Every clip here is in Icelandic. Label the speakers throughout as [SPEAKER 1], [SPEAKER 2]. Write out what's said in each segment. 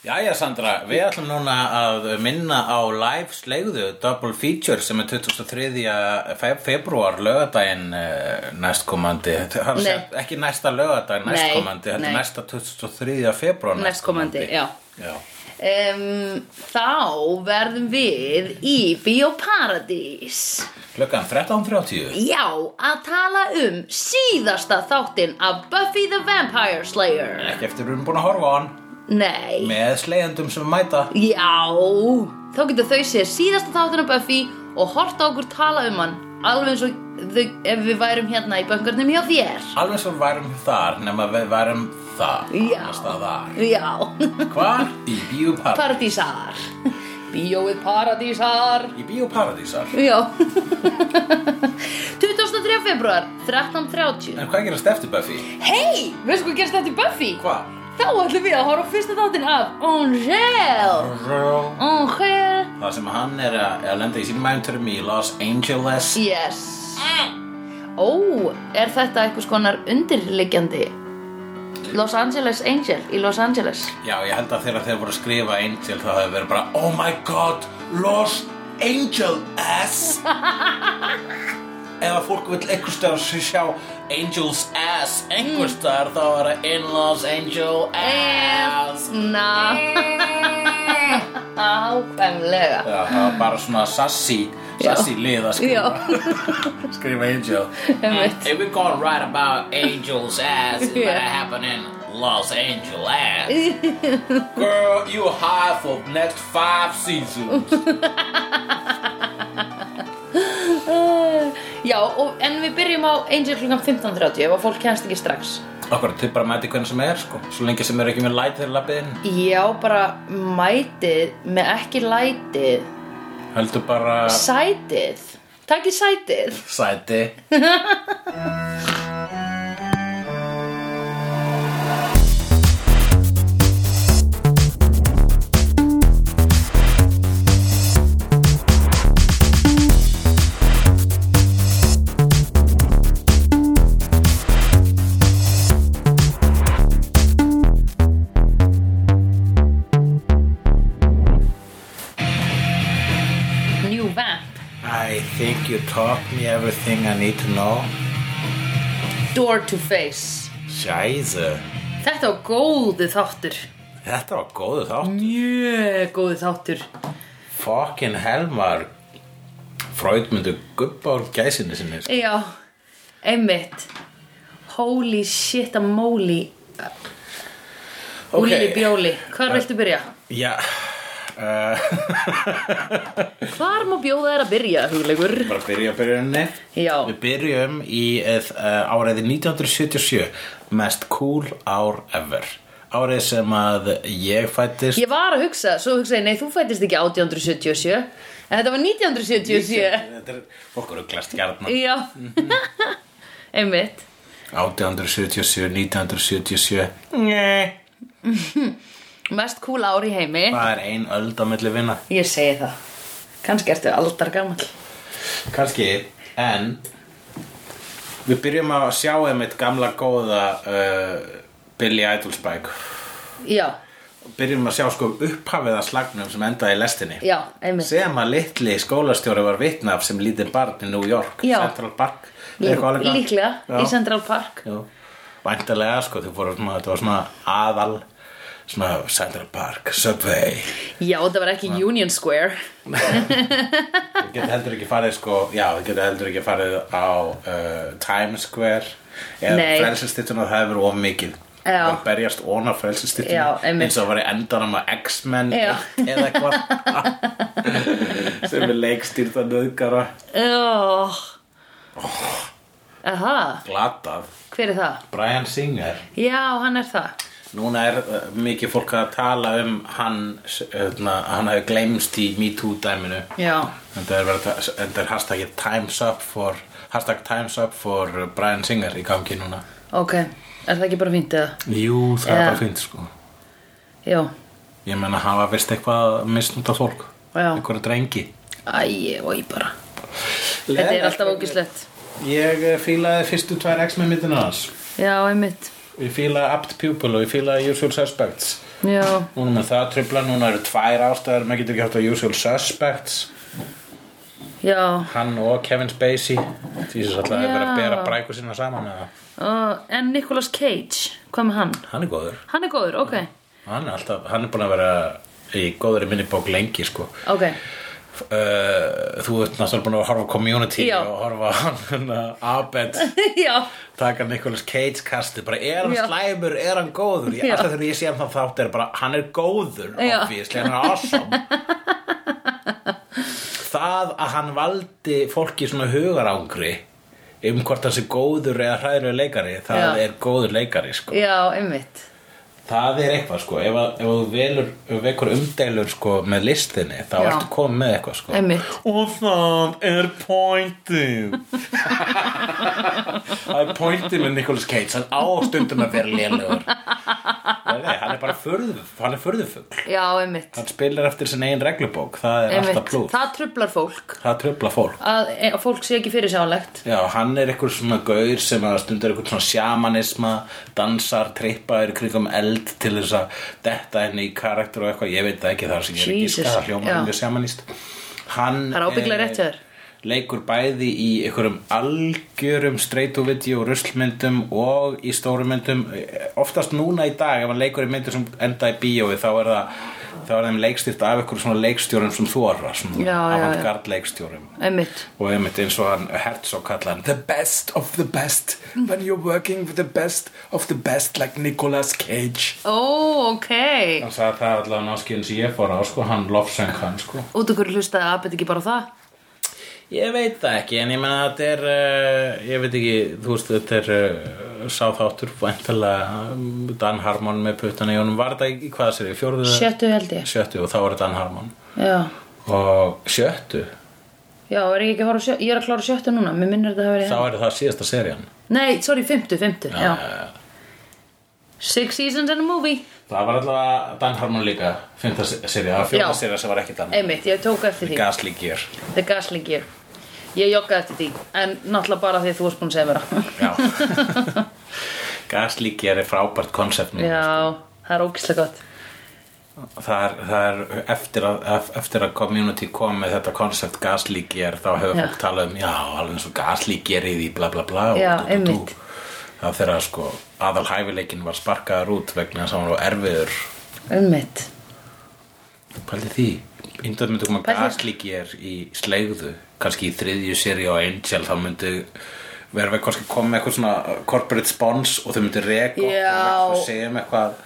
[SPEAKER 1] Jæja Sandra, við ætlum núna að minna á live slegðu Double Feature sem er 23. Fe februar lögadaginn næstkomandi Það er að segja, ekki næsta lögadaginn
[SPEAKER 2] Nei,
[SPEAKER 1] næstkomandi heldur
[SPEAKER 2] nei.
[SPEAKER 1] næsta 23. februar
[SPEAKER 2] Næstkomandi, já.
[SPEAKER 1] já.
[SPEAKER 2] Um, þá verðum við í Bíóparadís
[SPEAKER 1] Klukkan 13.30
[SPEAKER 2] Já, að tala um síðasta þáttinn af Buffy the Vampire Slayer
[SPEAKER 1] Ekki eftir við erum búin að horfa á hann
[SPEAKER 2] Nei
[SPEAKER 1] með slegjandum sem mæta
[SPEAKER 2] Já, þá getur þau séð síðasta þáttunum Buffy og horta okkur tala um hann alveg eins og þau, ef við værum hérna í böngarnum hjá þér
[SPEAKER 1] Alveg svo værum þar nema við værum þar
[SPEAKER 2] Já.
[SPEAKER 1] annars staðar.
[SPEAKER 2] Já,
[SPEAKER 1] Hvar? Í Bíóparadís
[SPEAKER 2] paradísar Bíóið paradísar
[SPEAKER 1] Í Bíóparadísar
[SPEAKER 2] Já 23. februar, 13.30
[SPEAKER 1] En hvað gerast eftir Buffy?
[SPEAKER 2] Hei, veistu hvað gerst þetta í Buffy?
[SPEAKER 1] Hvað?
[SPEAKER 2] Þá ætlum við að horfa á fyrsta þáttin af Angel Angel
[SPEAKER 1] Það sem hann er að, að lenda í sínum æfnturum í Los Angeles
[SPEAKER 2] Yes Ó, er þetta eitthvað skonar undirliggjandi? Los Angeles Angel í Los Angeles
[SPEAKER 1] Já, ég held að þegar þeir voru að skrifa Angel þá hefði verið bara Oh my god, Los Angeles Ef að fólk vill einhvers staðar s- sjá Angel's ass einhvers staðar þá er það In Los Angeles
[SPEAKER 2] Na Ákvæmlega
[SPEAKER 1] Já, það var bara svona sassy
[SPEAKER 2] Já.
[SPEAKER 1] sassy lið að skrifa skrifa Angel
[SPEAKER 2] Einmitt.
[SPEAKER 1] If we're gonna write about Angel's ass it
[SPEAKER 2] Yeah.
[SPEAKER 1] better happen in Los Angeles Girl, you high for next five seasons
[SPEAKER 2] Uh, Já, og, en við byrjum á Angel klukkan 15.30 ef að fólk kennst ekki strax
[SPEAKER 1] Akkur, þið bara mæti hvernig sem er sko svo lengi sem er ekki með læti þegar lappið inn
[SPEAKER 2] Já, bara mætið með ekki lætið
[SPEAKER 1] heldur bara
[SPEAKER 2] Sætið Takk í sætið
[SPEAKER 1] sæti
[SPEAKER 2] New Vamp
[SPEAKER 1] I think you taught me everything I need to know
[SPEAKER 2] Door to Face
[SPEAKER 1] Scheisse
[SPEAKER 2] Þetta var góðu þáttur
[SPEAKER 1] Þetta var góðu þátt
[SPEAKER 2] Mjög góðu þáttur
[SPEAKER 1] Fucking helmar Freud myndi guppa úr gæsinni sinni sko.
[SPEAKER 2] Já, einmitt Holy shit a moly
[SPEAKER 1] Ok.
[SPEAKER 2] Úli bjóli, hvar viltu byrja?
[SPEAKER 1] Já uh,
[SPEAKER 2] Hvar má bjóða þér að byrja, hugleikur?
[SPEAKER 1] Bara byrja að byrjunni
[SPEAKER 2] Já,
[SPEAKER 1] Við byrjum í uh, áriði 1977 Mest cool ár ever Árið sem að ég fættist
[SPEAKER 2] ég var að hugsa, svo hugsaði, nei, þú fættist ekki 1877 En þetta var 1977
[SPEAKER 1] Þetta er fólk eru glast gjarnan
[SPEAKER 2] Já, einmitt
[SPEAKER 1] 1877, 1977 Nei
[SPEAKER 2] Mest cool ár í heimi
[SPEAKER 1] Það er ein öld á milli vinna
[SPEAKER 2] Ég segi það Kannski ertu aldar gamall
[SPEAKER 1] Kanski, en Við byrjum að sjá einmitt gamla góða uh, Billy Idol Spike
[SPEAKER 2] Já,
[SPEAKER 1] Byrjum að sjá sko upphafið að slagnum sem endaði í lestinni
[SPEAKER 2] já, einmitt
[SPEAKER 1] sem að litli skólastjóri var vitna af sem lítið barn í New York
[SPEAKER 2] Já.
[SPEAKER 1] Central Park eða eitthvað álíka.
[SPEAKER 2] Líklega, í
[SPEAKER 1] Já.
[SPEAKER 2] Central Park
[SPEAKER 1] Já. væntalega sko þau voru svona, þetta var svona aðal svona Central Park, Subway
[SPEAKER 2] Já, þetta var ekki Union Square
[SPEAKER 1] þau geta heldur ekki farið sko já, þau geta heldur ekki farið á uh, Times Square eða
[SPEAKER 2] Nei.
[SPEAKER 1] frelsistituna það hefur of mikið
[SPEAKER 2] Já.
[SPEAKER 1] það berjast óna
[SPEAKER 2] Já,
[SPEAKER 1] frelsistituna
[SPEAKER 2] einmitt.
[SPEAKER 1] eins og var í endanum á X-Men
[SPEAKER 2] Já.
[SPEAKER 1] eitt eða eitthvað sem er leikstýrta nöðgara
[SPEAKER 2] Oh. Aha,
[SPEAKER 1] glatað
[SPEAKER 2] hver er það?
[SPEAKER 1] Brian Singer
[SPEAKER 2] Já, hann er það
[SPEAKER 1] Núna er uh, mikið fólk að tala um hann, hérna, hann hefur gleymst í MeToo dæminu
[SPEAKER 2] Já,
[SPEAKER 1] en það er, verið að- en það er hashtagið Time's Up for, hashtag Time's Up for Brian Singer í gangi núna
[SPEAKER 2] ok Er það ekki bara fínt eða?
[SPEAKER 1] Jú, það er
[SPEAKER 2] Já.
[SPEAKER 1] bara fínt sko
[SPEAKER 2] Já,
[SPEAKER 1] Ég menna hafa vist eitthvað misnúta fólk
[SPEAKER 2] Já.
[SPEAKER 1] einhverju drengi
[SPEAKER 2] æ, oi bara Þetta er alltaf ógislegt
[SPEAKER 1] Ég eh, fílaði fyrstu tvær X-Men myndina hans
[SPEAKER 2] Já, einmitt
[SPEAKER 1] ég fíla apt pupil og ég fíla usual suspects
[SPEAKER 2] Já,
[SPEAKER 1] núna með það trubla, núna eru tvær ástæður maður getur ekki haft á usual suspects
[SPEAKER 2] já
[SPEAKER 1] hann og Kevin Spacey Jesus alltaf hefur verið að
[SPEAKER 2] Já.
[SPEAKER 1] bera bræku sína saman eða.
[SPEAKER 2] uh, En Nicolas Cage, hvað með hann?
[SPEAKER 1] hann er góður
[SPEAKER 2] Hann er góður, ok
[SPEAKER 1] hann er, alltaf, hann er búin að vera í góður í minni bók lengi sko.
[SPEAKER 2] Ok,
[SPEAKER 1] uh, þú ert náttúrulega búin að horfa á community
[SPEAKER 2] Já.
[SPEAKER 1] og horfa á hann, hann Abed
[SPEAKER 2] já
[SPEAKER 1] taka Nicolas Cage kasti bara er hann
[SPEAKER 2] Já.
[SPEAKER 1] slæmur, er hann góður ég,
[SPEAKER 2] Já.
[SPEAKER 1] alltaf þegar ég sé hann þá þátt er bara hann er góður,
[SPEAKER 2] Já.
[SPEAKER 1] obviously, hann er awesome það að hann valdi fólki svona hugarángri um hvort hann sé góður eða hræðilegu leikari það
[SPEAKER 2] Já.
[SPEAKER 1] er góður leikari sko.
[SPEAKER 2] Já, einmitt
[SPEAKER 1] það er eitthvað sko ef, að- ef þú velur, ef vekur umdeilur sko með listinni, þá
[SPEAKER 2] Já.
[SPEAKER 1] ertu komið með eitthvað sko
[SPEAKER 2] Einmitt.
[SPEAKER 1] og það er pointið það er pointið með Nicolas Cage hann á stundum að vera lélugur nei, hann er bara furðu hann er furðufugl,
[SPEAKER 2] Já, einmitt,
[SPEAKER 1] hann spilar eftir sin eigin reglubók, það er
[SPEAKER 2] einmitt.
[SPEAKER 1] alltaf plúð
[SPEAKER 2] Það trublar fólk
[SPEAKER 1] það tröfla fólk
[SPEAKER 2] að, e, að fólk sé ekki fyrir sjálegt
[SPEAKER 1] Já, hann er eitthvað svona gaur sem að stundur eitthvað svona sjamanisma, dansar, trippar, krigum eld til þess að detta henni í karakter og eitthvað, ég veit það ekki þar sem ég er ekki
[SPEAKER 2] Jesus,
[SPEAKER 1] skað, hljóma
[SPEAKER 2] já.
[SPEAKER 1] hann við sjamanist. Hann
[SPEAKER 2] Það er ábyggilega
[SPEAKER 1] eh,
[SPEAKER 2] rétt hjá þér.
[SPEAKER 1] Leikur bæði í einhverjum algjörum streytuvideo og ruslmyndum og í stórumyndum, oftast núna í dag ef hann leikur í myndum sem enda í bíói þá er það, þá er þeim leikstýrt af einhverjum svona leikstjórum sem þóra,
[SPEAKER 2] Já,
[SPEAKER 1] svona
[SPEAKER 2] já, já.
[SPEAKER 1] avantgard leikstjórum
[SPEAKER 2] Einmitt
[SPEAKER 1] og einmitt eins og hann Herzog kalla hann the best of the best
[SPEAKER 2] Mm.
[SPEAKER 1] when you're working with the best of the best like Nicolas Cage
[SPEAKER 2] Ó, ok
[SPEAKER 1] hann sagði það allavega náskiðin sem ég fór á sko, hann lofsöng hann sko
[SPEAKER 2] Út okkur hlustaði að abit ekki bara á það
[SPEAKER 1] ég veit það ekki en ég menna þetta er uh, ég veit ekki, þú veist þetta er uh, sáþáttur, væntalega um, Dan Harmon með puttana í honum var þetta í- í hvaða sér, fjóruðu
[SPEAKER 2] Sjöttu held ég
[SPEAKER 1] sjöttu og þá var Dan Harmon
[SPEAKER 2] Já,
[SPEAKER 1] og sjöttu,
[SPEAKER 2] já, er ég ekki að fara á sjöttu Ég er að klára sjöttu núna, mér minnir þetta að
[SPEAKER 1] þá
[SPEAKER 2] vera
[SPEAKER 1] er það síðasta serían Eh,
[SPEAKER 2] Nei, sorry, fymtu, fymtu já. Six seasons and a movie
[SPEAKER 1] það var allavega Dan Harmon líka fymta serið, það var
[SPEAKER 2] Já.
[SPEAKER 1] fjórða serið sem var ekki Dan
[SPEAKER 2] Einmitt, ég tók eftir því
[SPEAKER 1] Gasly Gear
[SPEAKER 2] The Gasling Gear Ég joggaði eftir því, en náttúrulega bara því að þú varst búin að segja mér það
[SPEAKER 1] Já. Gasly Gear er frábært konsept nú.
[SPEAKER 2] Já, það er ógislega gott
[SPEAKER 1] það er, það er eftir, að, ef- eftir að community kom með þetta konsept Gasly Gear þá hefur
[SPEAKER 2] Já.
[SPEAKER 1] fólk talað um já, alveg eins og Gasly Gear í því bla bla bla og
[SPEAKER 2] Já,
[SPEAKER 1] dú, dú, dú.
[SPEAKER 2] einmitt.
[SPEAKER 1] það þegar sko aðal hæfileikin var sparkaður út vegna þess að hann var erfiður
[SPEAKER 2] Einmitt
[SPEAKER 1] Pældi því Índað myndi koma
[SPEAKER 2] Pældi-
[SPEAKER 1] gaslíkjér í sleigðu kannski í þriðju seri á Angel þá myndi verða við kannski koma með eitthvað svona uh, corporate spons og þau myndi reka okkur
[SPEAKER 2] Já.
[SPEAKER 1] og segja um eitthvað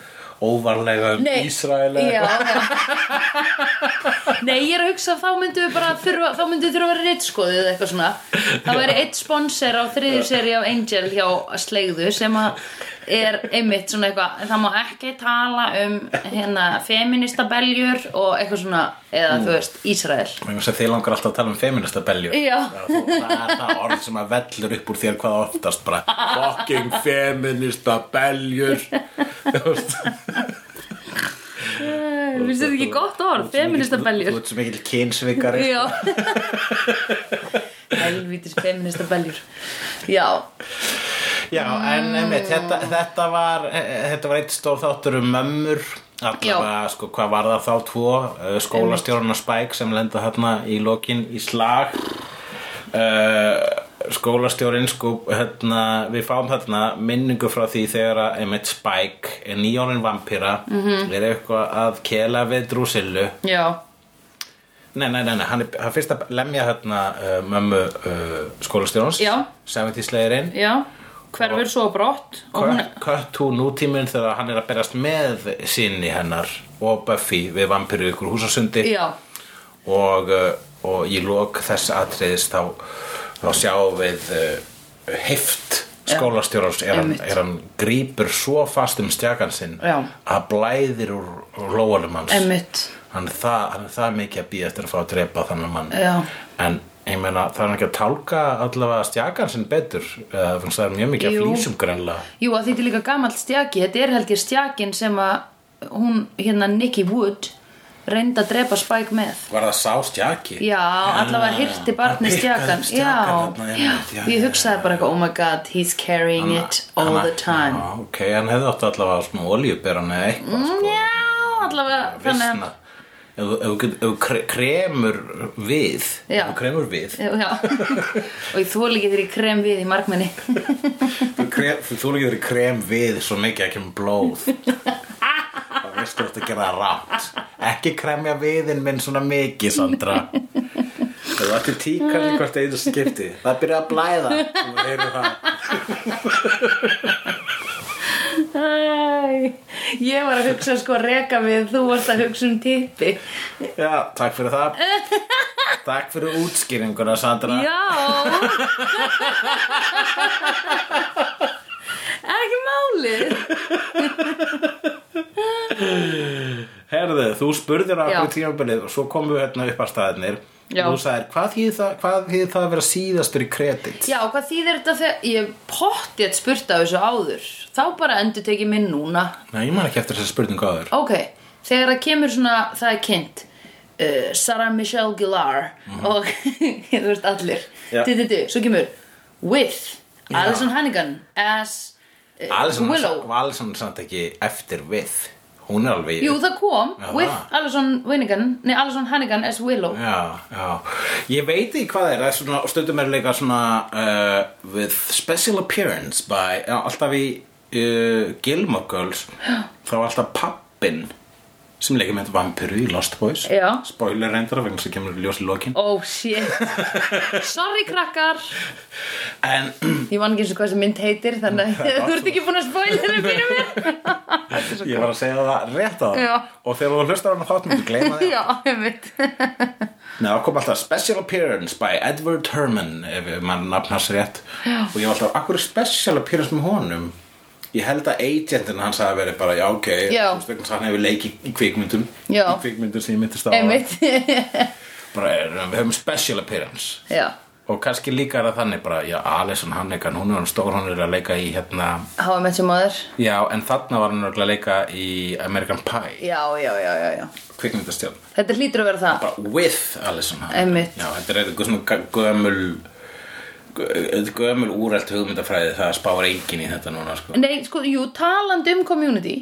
[SPEAKER 1] óvarlega um
[SPEAKER 2] Nei,
[SPEAKER 1] Ísrael eða
[SPEAKER 2] já,
[SPEAKER 1] eitthvað.
[SPEAKER 2] já. Nei, ég er að hugsa að þá myndum við bara þurfa, þá myndum við þurfa að vera reitskoðið eða eitthvað svona Það væri eitt sponsor á þriðju seri af Angel hjá Sleigðu sem að er einmitt svona eitthvað en það má ekki tala um hérna feminista beljur og eitthvað svona eða þú veist, Ísrael
[SPEAKER 1] Vegna þess að Þið langar alltaf að tala um feminista belju
[SPEAKER 2] Já.
[SPEAKER 1] Það er það orð sem að vellur upp úr þér hvað oftast bara Fucking feminista beljur Þú veist
[SPEAKER 2] Finnst þetta ekki gott orð, feminista
[SPEAKER 1] Þú
[SPEAKER 2] beljur
[SPEAKER 1] ert sem ekki kynsvikari
[SPEAKER 2] Já Helvítis feminista beljur Já,
[SPEAKER 1] Já, en einmitt, þetta, þetta var eh, þetta var eitt stór þáttur um mömmur allavega, sko, hvað var það þá tvo eh, skólastjórinn og Spike sem lenda hérna í lokin í slag uh, skólastjórinn sko, hérna, við fáum hérna minningu frá því þegar að einmitt Spike, er nýjónin vampíra -hmm. er eitthvað að kela við drúsillu
[SPEAKER 2] já
[SPEAKER 1] Nei, nei, nei, nei, hann er hann er fyrst að lemja hérna uh, mömmu uh, skólastjórns
[SPEAKER 2] Já.
[SPEAKER 1] 70 slegirinn
[SPEAKER 2] Já, hverfur svo á brott og hún,
[SPEAKER 1] Kött hún nútíminn þegar hann er að berast með sinni hennar og Buffy við vampiru ykkur húsasundi
[SPEAKER 2] já,
[SPEAKER 1] og, uh, og í lok þess atriðis þá, þá sjáum við uh, heift
[SPEAKER 2] Já,
[SPEAKER 1] skólastjórans er, hann-
[SPEAKER 2] einmitt.
[SPEAKER 1] er hann grípur svo fast um stjakan sinn
[SPEAKER 2] Já.
[SPEAKER 1] að blæðir úr, úr lóanum hans
[SPEAKER 2] emmitt
[SPEAKER 1] hann, er það, hann er það mikið að býja eftir að fá að drepa þannig mann
[SPEAKER 2] Já.
[SPEAKER 1] en ég meina það er hann ekki að tálka allavega stjakan sinn betur eða fannst það er mjög mikið
[SPEAKER 2] Jú.
[SPEAKER 1] að flýsum greinlega
[SPEAKER 2] Jú, að þetta er líka gamall stjaki Þetta er held ég stjakin sem að hún, hérna Nikki Wood reyndi að drepa Spike með
[SPEAKER 1] Var það Ah, sástjaki?
[SPEAKER 2] Já, allavega hirti barni stjakan Já, já, ég hugsaði bara eitthvað Oh my god, he's carrying it all the time Mm,
[SPEAKER 1] Já, ok, hann hefði átt allavega svona olíuberan eða eitthvað sko.
[SPEAKER 2] Já, allavega, þannig að
[SPEAKER 1] Visna. Ef þú- ef þú get- ef þú kre- kremur við
[SPEAKER 2] Já.
[SPEAKER 1] Ef þú kremur við
[SPEAKER 2] Já, já. og ég þóla ekki þegar ég krem við í markmenni
[SPEAKER 1] Þú kre- Þú líkir krem við svo mikið ekki um blóð Það veistu þetta að gera rátt Ekki kremja viðin minn svona mikið, Sandra Það var til tíkall í hvert einu skipti Það byrjaði að blæða Þú heyrðu það
[SPEAKER 2] Æ, Ég var að hugsa sko reka við þú varst að hugsa um tippi
[SPEAKER 1] Já, takk fyrir það Takk fyrir útskýringuna, Sandra
[SPEAKER 2] Já Ekki málið
[SPEAKER 1] Herðu, þú spurðir á
[SPEAKER 2] Já.
[SPEAKER 1] okkur tímabilið og svo komum við hérna upp að staðinir
[SPEAKER 2] Já.
[SPEAKER 1] Þú sagðir, hvað þýðir það, hvað þýðir það að vera síðastur í kredit?
[SPEAKER 2] Já, hvað þýðir þetta þegar ég pottið spurt af þessu áður þá bara endur tekið minn núna
[SPEAKER 1] Nei, ég man ekki eftir þessar spurningu áður
[SPEAKER 2] Ok, þegar það kemur svona, það er kynnt uh, Sarah Michelle Gellar og þú veist allir
[SPEAKER 1] Mhm. Já.
[SPEAKER 2] du, du, du, Svo kemur With Alison Hannigan as uh,
[SPEAKER 1] Alison
[SPEAKER 2] Willow
[SPEAKER 1] Alison er samt ekki eftir við Hún er alveg
[SPEAKER 2] Jú, það kom
[SPEAKER 1] Já.
[SPEAKER 2] With Alison Hannigan Nei, Alison Hannigan as Willow
[SPEAKER 1] Já, já. Ég veit ekki hvað er, það er svona, stundum er líka svona uh, with special appearance by, já, alltaf í uh, Gilmore Girls, þá er alltaf pappin sem leika með vampiru í Lost Boys.
[SPEAKER 2] Já.
[SPEAKER 1] Spoiler reyndar vegna sem kemur ljós í lokin.
[SPEAKER 2] Oh shit Sorry krakkar
[SPEAKER 1] En,
[SPEAKER 2] Ég man ekki eins og hvað sem mynd heitir Þannig að þú ert ekki búin að spoilera fyrir mér
[SPEAKER 1] ég var að segja það rétt á það.
[SPEAKER 2] Já.
[SPEAKER 1] Og þegar þú hlustar á hann þátt, myndir gleyma því.
[SPEAKER 2] Já, ég veit
[SPEAKER 1] Nei, það kom alltaf Special Appearance by Edward Herman ef mann nafnast rétt já. og ég var alltaf, akkur er Special Appearance með honum? Ég held að agentin hans hafi verið bara, já ok
[SPEAKER 2] Já.
[SPEAKER 1] þú veist vegna hann hefur leik í, í kvikmyndum
[SPEAKER 2] Já.
[SPEAKER 1] í kvikmyndum sem ég myndist á
[SPEAKER 2] Einmitt
[SPEAKER 1] bara, er, við höfum Special Appearance
[SPEAKER 2] Já
[SPEAKER 1] og kannski líka er það þannig bara, já Alison Hannigan, hún er hann stór hún er að leika í hérna
[SPEAKER 2] How I Met Your Mother
[SPEAKER 1] já, en þarna var hann örugglega að leika í American Pie,
[SPEAKER 2] Já, já, já, já, já
[SPEAKER 1] kvikmyndastjáln
[SPEAKER 2] Þetta hlýtur að vera það
[SPEAKER 1] bara with Alison Hannigan
[SPEAKER 2] Einmitt.
[SPEAKER 1] Já, þetta er eitthvað svona gö- gömul gö- gömul úrælt hugmyndafræði það spáir enginn í þetta núna sko.
[SPEAKER 2] Nei, sko, jú, talandi um community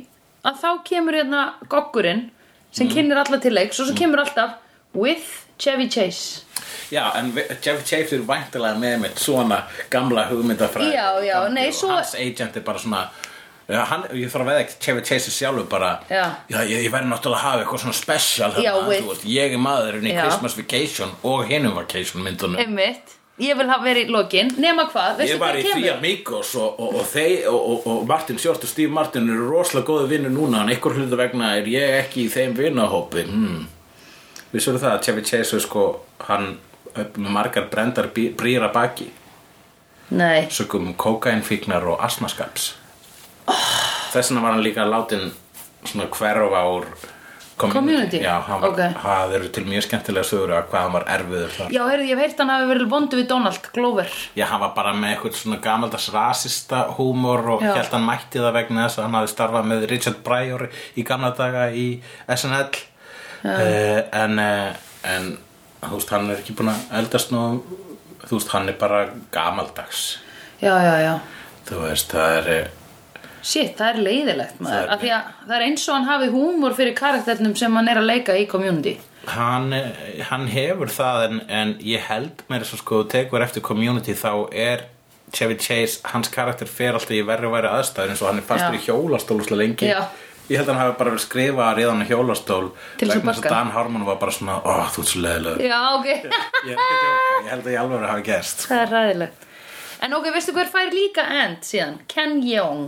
[SPEAKER 2] að þá kemur hérna goggurinn sem
[SPEAKER 1] Mm.
[SPEAKER 2] kynir alla til leiks og svo kemur alltaf with Chevy Chase
[SPEAKER 1] Já, en vi- Jeff Chase er væntilega með mitt svona gamla hugmyndafræði
[SPEAKER 2] Já, já,
[SPEAKER 1] Gamli
[SPEAKER 2] nei,
[SPEAKER 1] og
[SPEAKER 2] svo-
[SPEAKER 1] Hans agent er bara svona Já, hann, ég þarf að veða ekki Chevy Chase er sjálfur bara
[SPEAKER 2] Já.
[SPEAKER 1] ég, ég verði náttúrulega að hafa eitthvað svona special
[SPEAKER 2] Já,
[SPEAKER 1] þarna,
[SPEAKER 2] with-
[SPEAKER 1] þú veist, Ég er maðurinn í
[SPEAKER 2] Já.
[SPEAKER 1] Christmas Vacation og hinum Vacation myndunum
[SPEAKER 2] Einmitt, ég vil hafa verið í lokin nema hvað, veistu
[SPEAKER 1] Ég var í
[SPEAKER 2] hvað
[SPEAKER 1] því
[SPEAKER 2] kemur?
[SPEAKER 1] Amigos og, og, og, þeir, og, og, og Martin Short og Steve Martin eru rosalega góði vinnur núna en einhver hluta vegna er ég ekki í þeim vinnahópi hmm. Við svo það að Chevy Chase er sko, hann upp með margar brendar bí- brýr að baki
[SPEAKER 2] Nei,
[SPEAKER 1] sögum kókainfíknar og asmaskaps Þess vegna var hann líka látin svona hverfa úr
[SPEAKER 2] Community?
[SPEAKER 1] Já, hann var,
[SPEAKER 2] Ok.
[SPEAKER 1] það eru til mjög skemmtilega sögur að hvað hann var erfiður þar
[SPEAKER 2] já, heyrðu, ég hef heyrt hann hafi verið vondu við Donald Glover
[SPEAKER 1] Já, hann var bara með eitthvað svona gamaldags rasista húmor og
[SPEAKER 2] Já.
[SPEAKER 1] held hann mætti það vegna þess að hann hafði starfað með Richard Pryor í gamla daga í SNL uh, en, uh, en þú veist, hann er ekki búin að eldast nú þú veist, hann er bara gamaldags
[SPEAKER 2] Já, já, já
[SPEAKER 1] þú veist, það er eh,
[SPEAKER 2] Shit, það er leiðilegt
[SPEAKER 1] Það er-
[SPEAKER 2] maður, af því að það er eins og hann hafi húmor fyrir karakternum sem hann er að leika í community
[SPEAKER 1] hann, eh, hann hefur það en, en ég held mér svo sko tegur eftir community þá er Chevy Chase, hans karakter fer alltaf í verri og verri aðstæður eins og hann er fastur
[SPEAKER 2] Já.
[SPEAKER 1] í hjólastól úslega lengi
[SPEAKER 2] Já.
[SPEAKER 1] ég held að hann hafi bara verið skrifað reyðan á hjólastól
[SPEAKER 2] Til þess að
[SPEAKER 1] vegna þess
[SPEAKER 2] bakka.
[SPEAKER 1] að Dan Harmon var bara svona ó, þú ert svo leðilega
[SPEAKER 2] Já, ok
[SPEAKER 1] ég, er ekki að djóka, ég held að ég alveg hafi gerst
[SPEAKER 2] Það er ræðilegt En ok, veistu hver fær líka end síðan? Ken Jeong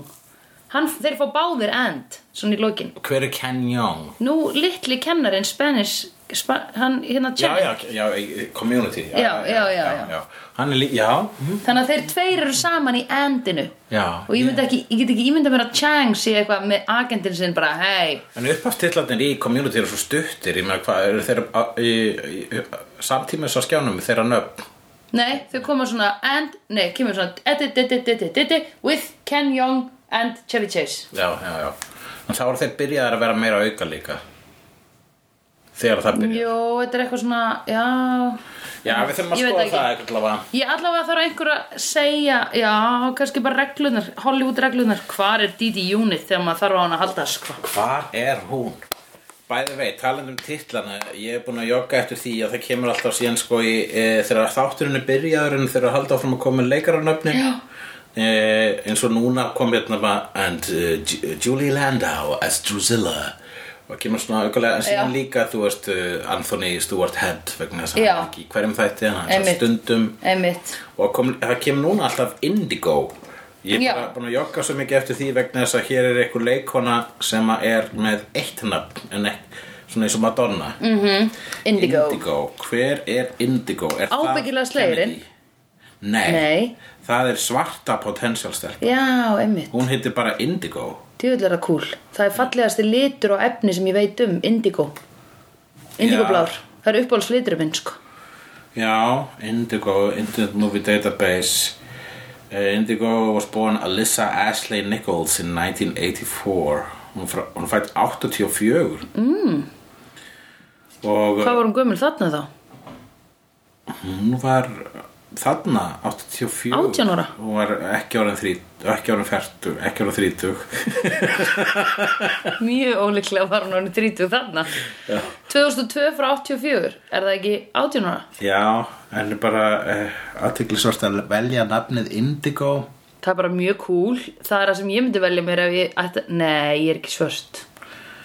[SPEAKER 2] Hann, Þeir fá báðir end, svona í lokin
[SPEAKER 1] hver er Ken Young?
[SPEAKER 2] Nú, litli kennarinn Spanish spa, Hann, hérna
[SPEAKER 1] Já,
[SPEAKER 2] Chen
[SPEAKER 1] já, já, eh, community
[SPEAKER 2] Já, já, já, já.
[SPEAKER 1] Hann er líka, já, mhm,
[SPEAKER 2] Þannig að þeir tveir eru saman í endinu
[SPEAKER 1] já
[SPEAKER 2] Og ég, yeah. ekki, ég get ekki ímynda mér að Chang sé eitthvað með agentinn sinn bara Hei,
[SPEAKER 1] En upphaftitlarnir í community eru svo stuttir, ég meina hvað, eru þeir á- í- í- samtímis á skjánum þeirra nöfn?
[SPEAKER 2] nei, þau koma svona and, nei, kemur svona edit, edit, edit, edit, edit, with Ken Jeong and Chevy Chase
[SPEAKER 1] Já, já, já. En þá eru þeir byrjaðar að vera meira auka líka. þegar það byrjar
[SPEAKER 2] Jó, þetta er eitthvað svona, já
[SPEAKER 1] Já, við þurfum að
[SPEAKER 2] Ég veit
[SPEAKER 1] skoða
[SPEAKER 2] ekki.
[SPEAKER 1] það eitthvað allavega.
[SPEAKER 2] Ég allavega þarf einhver að segja, já, kannski bara reglunar, Hollywood reglunar, hvar er Didi Unit þegar maður þarf á hann að halda sko?
[SPEAKER 1] Hvar er hún? Bæði vei, talandi um titlana, ég er búin að jogga eftir því að það kemur alltaf síðan sko í, e, þegar þátturinn er byrjaður en þegar að halda áfram að koma leikararnöfnin e, eins og núna kom hérna bara and uh, Ju- Julie Landau as Drusilla og kemur svona aukulega en síðan
[SPEAKER 2] Já.
[SPEAKER 1] líka, þú veist, eh, Anthony Stewart Head vegna þess að
[SPEAKER 2] Já.
[SPEAKER 1] hann er ekki í hverjum þætti en hann er
[SPEAKER 2] Einmitt.
[SPEAKER 1] stundum
[SPEAKER 2] Einmitt.
[SPEAKER 1] og kom, það kemur núna alltaf Indigo ég
[SPEAKER 2] Já.
[SPEAKER 1] er bara búin að jogga svo mikið eftir því vegna þess að hér er einhver leikona sem að er með eitt nafn en ekki, svona eins og Madonna mm -hmm.
[SPEAKER 2] Indigo.
[SPEAKER 1] hver er Indigo? Er það
[SPEAKER 2] Ábyggilega slegirinn.
[SPEAKER 1] Kennedy? Nei.
[SPEAKER 2] Nei.
[SPEAKER 1] það er svarta potentialstelp
[SPEAKER 2] Já, einmitt.
[SPEAKER 1] hún heitir bara Indigo
[SPEAKER 2] Djöfull er það cool. Það er fallegasti litur og efni sem ég veit um, indigo. Indigo
[SPEAKER 1] Já.
[SPEAKER 2] blár. Það er uppáhalds litur minn sko.
[SPEAKER 1] Já, Indigo, Internet Movie Database Eh, Indigo was born Alyssa Ashley Nichols in 1984 Hún, frá, hún er fætt 84 mm. Og
[SPEAKER 2] Hvað var hún gömul þarna þá?
[SPEAKER 1] hún var þarna 84
[SPEAKER 2] 18 ára?
[SPEAKER 1] Hún var ekki orðin 30 ekki orðin 40, ekki orðin 30
[SPEAKER 2] Mjög óleiklega var hún hann 30 þarna.
[SPEAKER 1] Já.
[SPEAKER 2] 2002 frá 84, er það ekki 18 ára?
[SPEAKER 1] Já, en bara eh, aðtiklisvart að velja nafnið Indigo
[SPEAKER 2] Það er bara mjög cool. Það er það sem ég myndi velja mér ef ég ætti... Nei, ég er ekki svört.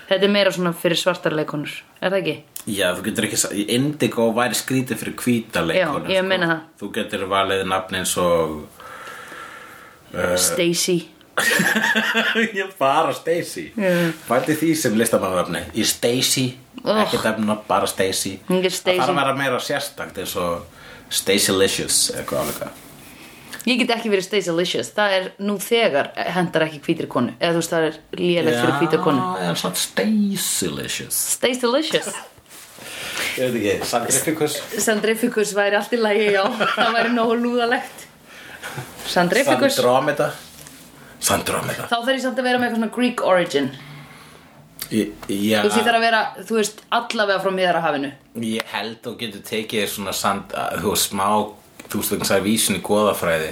[SPEAKER 2] Þetta er meira svona fyrir svartarleikonur. Er það ekki?
[SPEAKER 1] Já, þú getur ekki sagt, Indigo væri skrítið fyrir hvítaleikonum
[SPEAKER 2] Já, ég meina það.
[SPEAKER 1] Þú getur valið nafn eins og Eh.
[SPEAKER 2] Stacy.
[SPEAKER 1] Ég bara Stacy
[SPEAKER 2] Já.
[SPEAKER 1] Fældi því sem listamannarnafni Í Stacy,
[SPEAKER 2] Oh.
[SPEAKER 1] ekki dæmna, bara Stacy
[SPEAKER 2] Hún er Stacy.
[SPEAKER 1] Það þarf að vera meira sérstakt eins og Stacylicious eitthvað álíka
[SPEAKER 2] Ég get ekki verið Stacylicious. Það er nú þegar hendar ekki hvítri konu. Eða þú veist, það er lélegt fyrir hvítra konu.
[SPEAKER 1] Já, en svona Stacylicious
[SPEAKER 2] Stacylicious.
[SPEAKER 1] Ég veit ekki, Sandrificus
[SPEAKER 2] Sandrificus væri allt í lagi, já. Það væri nógu lúðalegt. Sandrificus.
[SPEAKER 1] Sandromeda Sandromeda
[SPEAKER 2] Þá þarf ég samt að vera með eitthvað svona Greek origin.
[SPEAKER 1] Í- Já,
[SPEAKER 2] Þú veist, ég þarf að vera, þú veist, allavega frá miðarahafinu.
[SPEAKER 1] Ég held þú getur tekið þér svona sand, að, þú veist, smá, þú veist, það er vísun í goðafræði.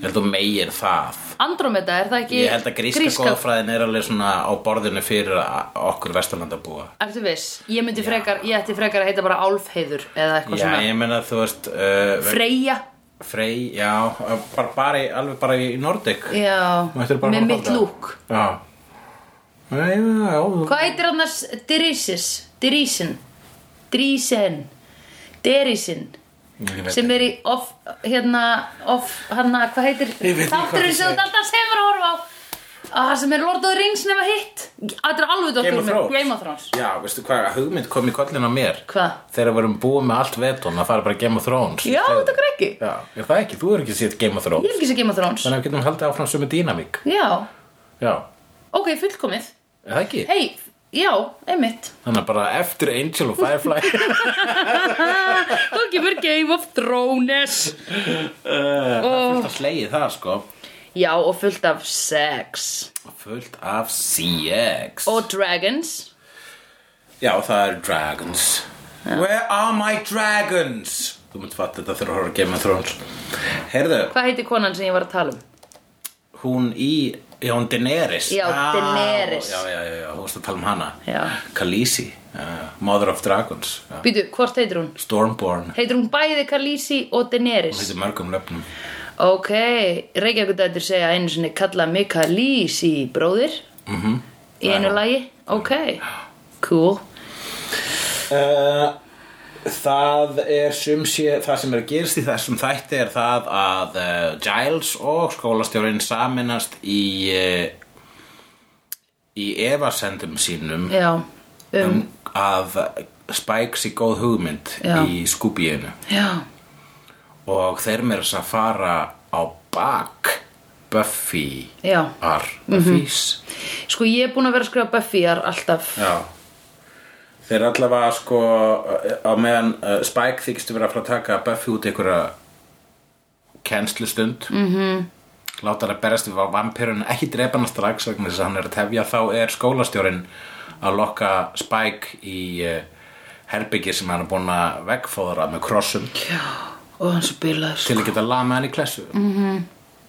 [SPEAKER 1] Ég held þú meir það.
[SPEAKER 2] Andromeda, er það ekki
[SPEAKER 1] Ég held að gríska, goðafræðin er alveg svona á borðinu fyrir a- okkur vesturlandabúa.
[SPEAKER 2] Ertu viss? Ég myndi frekar, ég ætti frekar að heita bara Álfheiður eða eitthvað
[SPEAKER 1] Já,
[SPEAKER 2] svona
[SPEAKER 1] ég meina þú veist, uh,
[SPEAKER 2] Freyja
[SPEAKER 1] Frey, já, uh, bara, bara í, alveg bara í Nordic.
[SPEAKER 2] Já,
[SPEAKER 1] Mættir bara
[SPEAKER 2] með
[SPEAKER 1] að
[SPEAKER 2] mitt
[SPEAKER 1] halda.
[SPEAKER 2] lúk
[SPEAKER 1] Já. Nei, já, já, þú-
[SPEAKER 2] Hvað heitir annars Drísis? Drísin Drísin Drísin
[SPEAKER 1] Ég veit
[SPEAKER 2] sem
[SPEAKER 1] ekki.
[SPEAKER 2] er í off, hérna, off, hana, hvað heitir
[SPEAKER 1] Ég veit ekki hvað
[SPEAKER 2] þátturinn
[SPEAKER 1] það
[SPEAKER 2] sem þú
[SPEAKER 1] segir.
[SPEAKER 2] alltaf semur að horfa á Ah, sem er Lord of the Rings nema hitt Þetta er alveg
[SPEAKER 1] Game
[SPEAKER 2] dottur
[SPEAKER 1] of Thrones.
[SPEAKER 2] Game of Thrones
[SPEAKER 1] Já, veistu hvað, hugmynd kom í kollin á mér.
[SPEAKER 2] Hvað?
[SPEAKER 1] Þegar við erum búið með allt vetun, að fara bara Game of Thrones.
[SPEAKER 2] Já, þetta er ekki
[SPEAKER 1] Já, er það ekki? Þú er ekki sétt Game of Thrones.
[SPEAKER 2] Ég er ekki sem Game of Thrones
[SPEAKER 1] Þannig að við getum haldið áfram sömu dýnamík.
[SPEAKER 2] Já,
[SPEAKER 1] Já,
[SPEAKER 2] ok, fullkomið
[SPEAKER 1] er það ekki?
[SPEAKER 2] Hei, já, einmitt
[SPEAKER 1] Þannig að bara eftir Angel og Firefly.
[SPEAKER 2] Þá kemur Game of Thrones
[SPEAKER 1] Það er fullt af slegið það, sko.
[SPEAKER 2] Já, og fullt af sex
[SPEAKER 1] Fullt af CX.
[SPEAKER 2] Og dragons
[SPEAKER 1] Já, það eru dragons. Where are my dragons? Þú munt fatta þetta þegar þú horfður að Game of Thrones. Heyrðu,
[SPEAKER 2] Hvað heitir konan sem ég var að tala um?
[SPEAKER 1] hún í... Já, hún Daenerys.
[SPEAKER 2] Já,
[SPEAKER 1] Ah,
[SPEAKER 2] Daenerys.
[SPEAKER 1] Já, já, já, já, þú veist að tala um hana.
[SPEAKER 2] Já.
[SPEAKER 1] Khaleesi, uh, Mother of Dragons. Já.
[SPEAKER 2] Býtu, hvort heitir hún?
[SPEAKER 1] Stormborn.
[SPEAKER 2] Heitir hún bæði Khaleesi
[SPEAKER 1] Hún
[SPEAKER 2] og Daenerys
[SPEAKER 1] heitir mörgum löfnum.
[SPEAKER 2] Ok, Reykjavíkudættur segja einu sinni kalla mig Khaleesi bróðir mm -hmm. Í einu lagi Ok, cool
[SPEAKER 1] Eh, Það er sum sé, það sem er að gerast í þessum þætti er það að uh, Giles og skólastjórinn saminast í uh, í evasendum sínum
[SPEAKER 2] Já, um,
[SPEAKER 1] um, að Spike sé góð hugmynd
[SPEAKER 2] Já.
[SPEAKER 1] í skúbíinu
[SPEAKER 2] já
[SPEAKER 1] og þeir meira þess að fara á bak Buffy
[SPEAKER 2] Já, Mhm.
[SPEAKER 1] ar Buffy's
[SPEAKER 2] sko ég er búin að vera að skrifa Buffyar alltaf
[SPEAKER 1] Já Þeir allavega sko á meðan uh, Spike
[SPEAKER 2] Mhm.
[SPEAKER 1] þykist vera að fara að taka Buffy út í einhverja kennslustund mm -hmm. láta hann að berast við vampirun ekki drepa hann strax vegna þess að hann er að tefja þá er skólastjórinn að lokka Spike í uh, herbyggi sem hann er búin að vegfóðra með krossum
[SPEAKER 2] og hann svo bilaður
[SPEAKER 1] til að geta lama hann í klessu -hmm.
[SPEAKER 2] Mhm.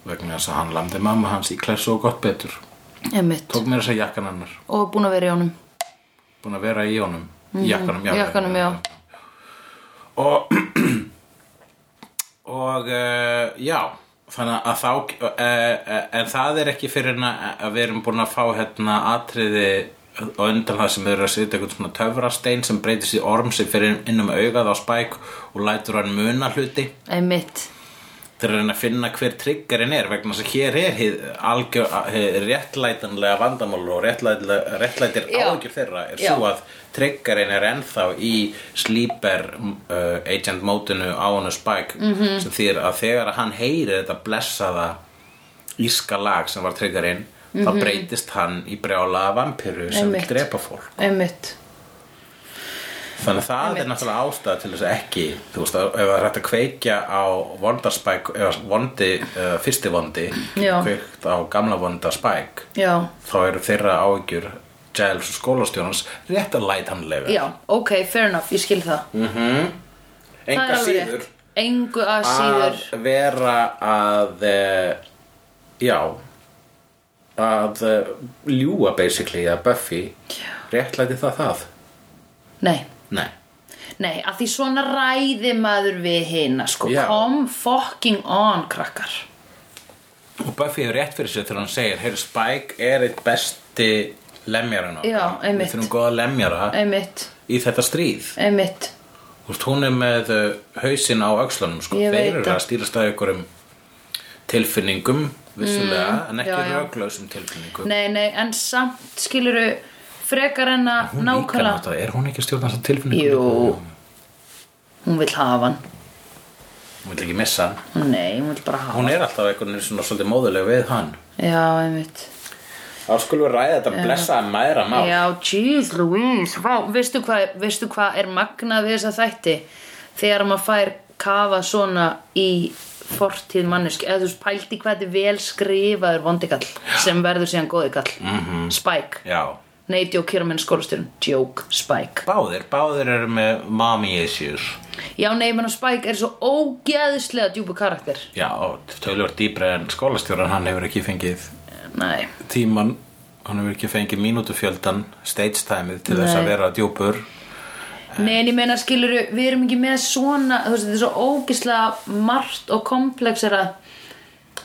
[SPEAKER 1] vegna þess að hann lamdi mamma hans í klessu og gott betur
[SPEAKER 2] Einmitt.
[SPEAKER 1] tók mér þess að segja jakkan hennar
[SPEAKER 2] og búin að vera í honum
[SPEAKER 1] búin að vera í honum í jakkanum, já,
[SPEAKER 2] Mhm. jakkanum, já.
[SPEAKER 1] og og uh, já þannig að þá uh, uh, en það er ekki fyrir en að að við erum búin að fá hérna atriði og undan það sem við erum að setja einhvern svona töfrastein sem breytist í orm sem fyrir inn um augað á spæk og lætur hann muna hluti
[SPEAKER 2] einmitt
[SPEAKER 1] þeir eru að reyna að finna hver triggerinn er vegna þess að hér er hið, algjör, hið réttlætanlega vandamál og réttlætanlega- réttlætir
[SPEAKER 2] Já.
[SPEAKER 1] ágjur þeirra er
[SPEAKER 2] Já.
[SPEAKER 1] svo að triggerinn er ennþá í sleeper uh, agent mótinu á honu Spike
[SPEAKER 2] Mhm.
[SPEAKER 1] -hmm. sem þýr að þegar að hann heyrir þetta blessaða íska lag sem var triggerinn þá breytist hann í brjálaða vampiru sem vil
[SPEAKER 2] Mhm. Einmitt.
[SPEAKER 1] drepa fólk
[SPEAKER 2] einmitt
[SPEAKER 1] Þannig að það er náttúrulega ástæða til þess að ekki, þú veist, ef það er hægt að kveikja á vondarspæk, eða vondi, uh, fyrsti vondi,
[SPEAKER 2] Já.
[SPEAKER 1] kveikt á gamla vondarspæk,
[SPEAKER 2] já
[SPEAKER 1] þá eru þeirra áhyggjur Giles og skólastjónans rétt að læta hann lefa.
[SPEAKER 2] Já, ok, fair enough, ég skil það Það er
[SPEAKER 1] Enga
[SPEAKER 2] alveg
[SPEAKER 1] síður Ah.
[SPEAKER 2] rétt. Engu að síður
[SPEAKER 1] að vera að, uh, já, að uh, ljúa basically að Buffy réttlæti það það.
[SPEAKER 2] Nei,
[SPEAKER 1] Nei.
[SPEAKER 2] nei, að því svona ræði maður við hina sko
[SPEAKER 1] Já.
[SPEAKER 2] Come fucking on, krakkar
[SPEAKER 1] Og Buffy hefur rétt fyrir sér þegar hann segir Heyr, Spike er eitt besti lemjarinn okkar
[SPEAKER 2] Já, einmitt.
[SPEAKER 1] Við þurfum góða lemjara
[SPEAKER 2] Einmitt,
[SPEAKER 1] í þetta stríð
[SPEAKER 2] einmitt
[SPEAKER 1] Þú veist, hún er með uh, hausinn á öxlunum sko.
[SPEAKER 2] Ég veit
[SPEAKER 1] Þeir eru
[SPEAKER 2] það.
[SPEAKER 1] að stýrast að ykkurum tilfinningum vissulega, en ekki
[SPEAKER 2] Mm, já, já.
[SPEAKER 1] röglausum tilfinningum
[SPEAKER 2] Nei, nei, en samt skiluru frekar en að
[SPEAKER 1] Hún líka
[SPEAKER 2] nákvæmlega
[SPEAKER 1] náttúrulega, er hún ekki að stjórna þessa tilfinningum?
[SPEAKER 2] Jú, hún vill hafa hann
[SPEAKER 1] Hún vil ekki missa hann
[SPEAKER 2] Nei, hún vill bara hafa hann
[SPEAKER 1] Hún er alltaf einhvern veginn svona svolítið móðuleg við hann
[SPEAKER 2] Já, einmitt
[SPEAKER 1] Þá skulum við ræða þetta blessaða mæðra mál
[SPEAKER 2] Já, jeez Louise Vá, veistu hvað veistu hva er magnað við þessa þætti þegar maður fær kafa svona í fortíð mannesk eða þú veist pældi hvað þetta er vel skrifaður vondikall sem verður síðan góðikall mm -hmm. Spike,
[SPEAKER 1] já.
[SPEAKER 2] nei, djók hér á menn skólastjörn Joke, Spike
[SPEAKER 1] Báðir, báðir eru með mommy issues
[SPEAKER 2] Já, nei, menn og Spike er svo ógeðislega djúpu karakter
[SPEAKER 1] Já, tölvöld dýbra en skólastjóran hann hefur ekki fengið
[SPEAKER 2] Nei,
[SPEAKER 1] tíman, hann hefur ekki fengið mínútufjöldan, stage time til þess
[SPEAKER 2] Nei.
[SPEAKER 1] að vera djúpur
[SPEAKER 2] nei, en ég meina skilur við erum ekki með svona, þú veist, þetta er svo ógeðslega margt og komplexera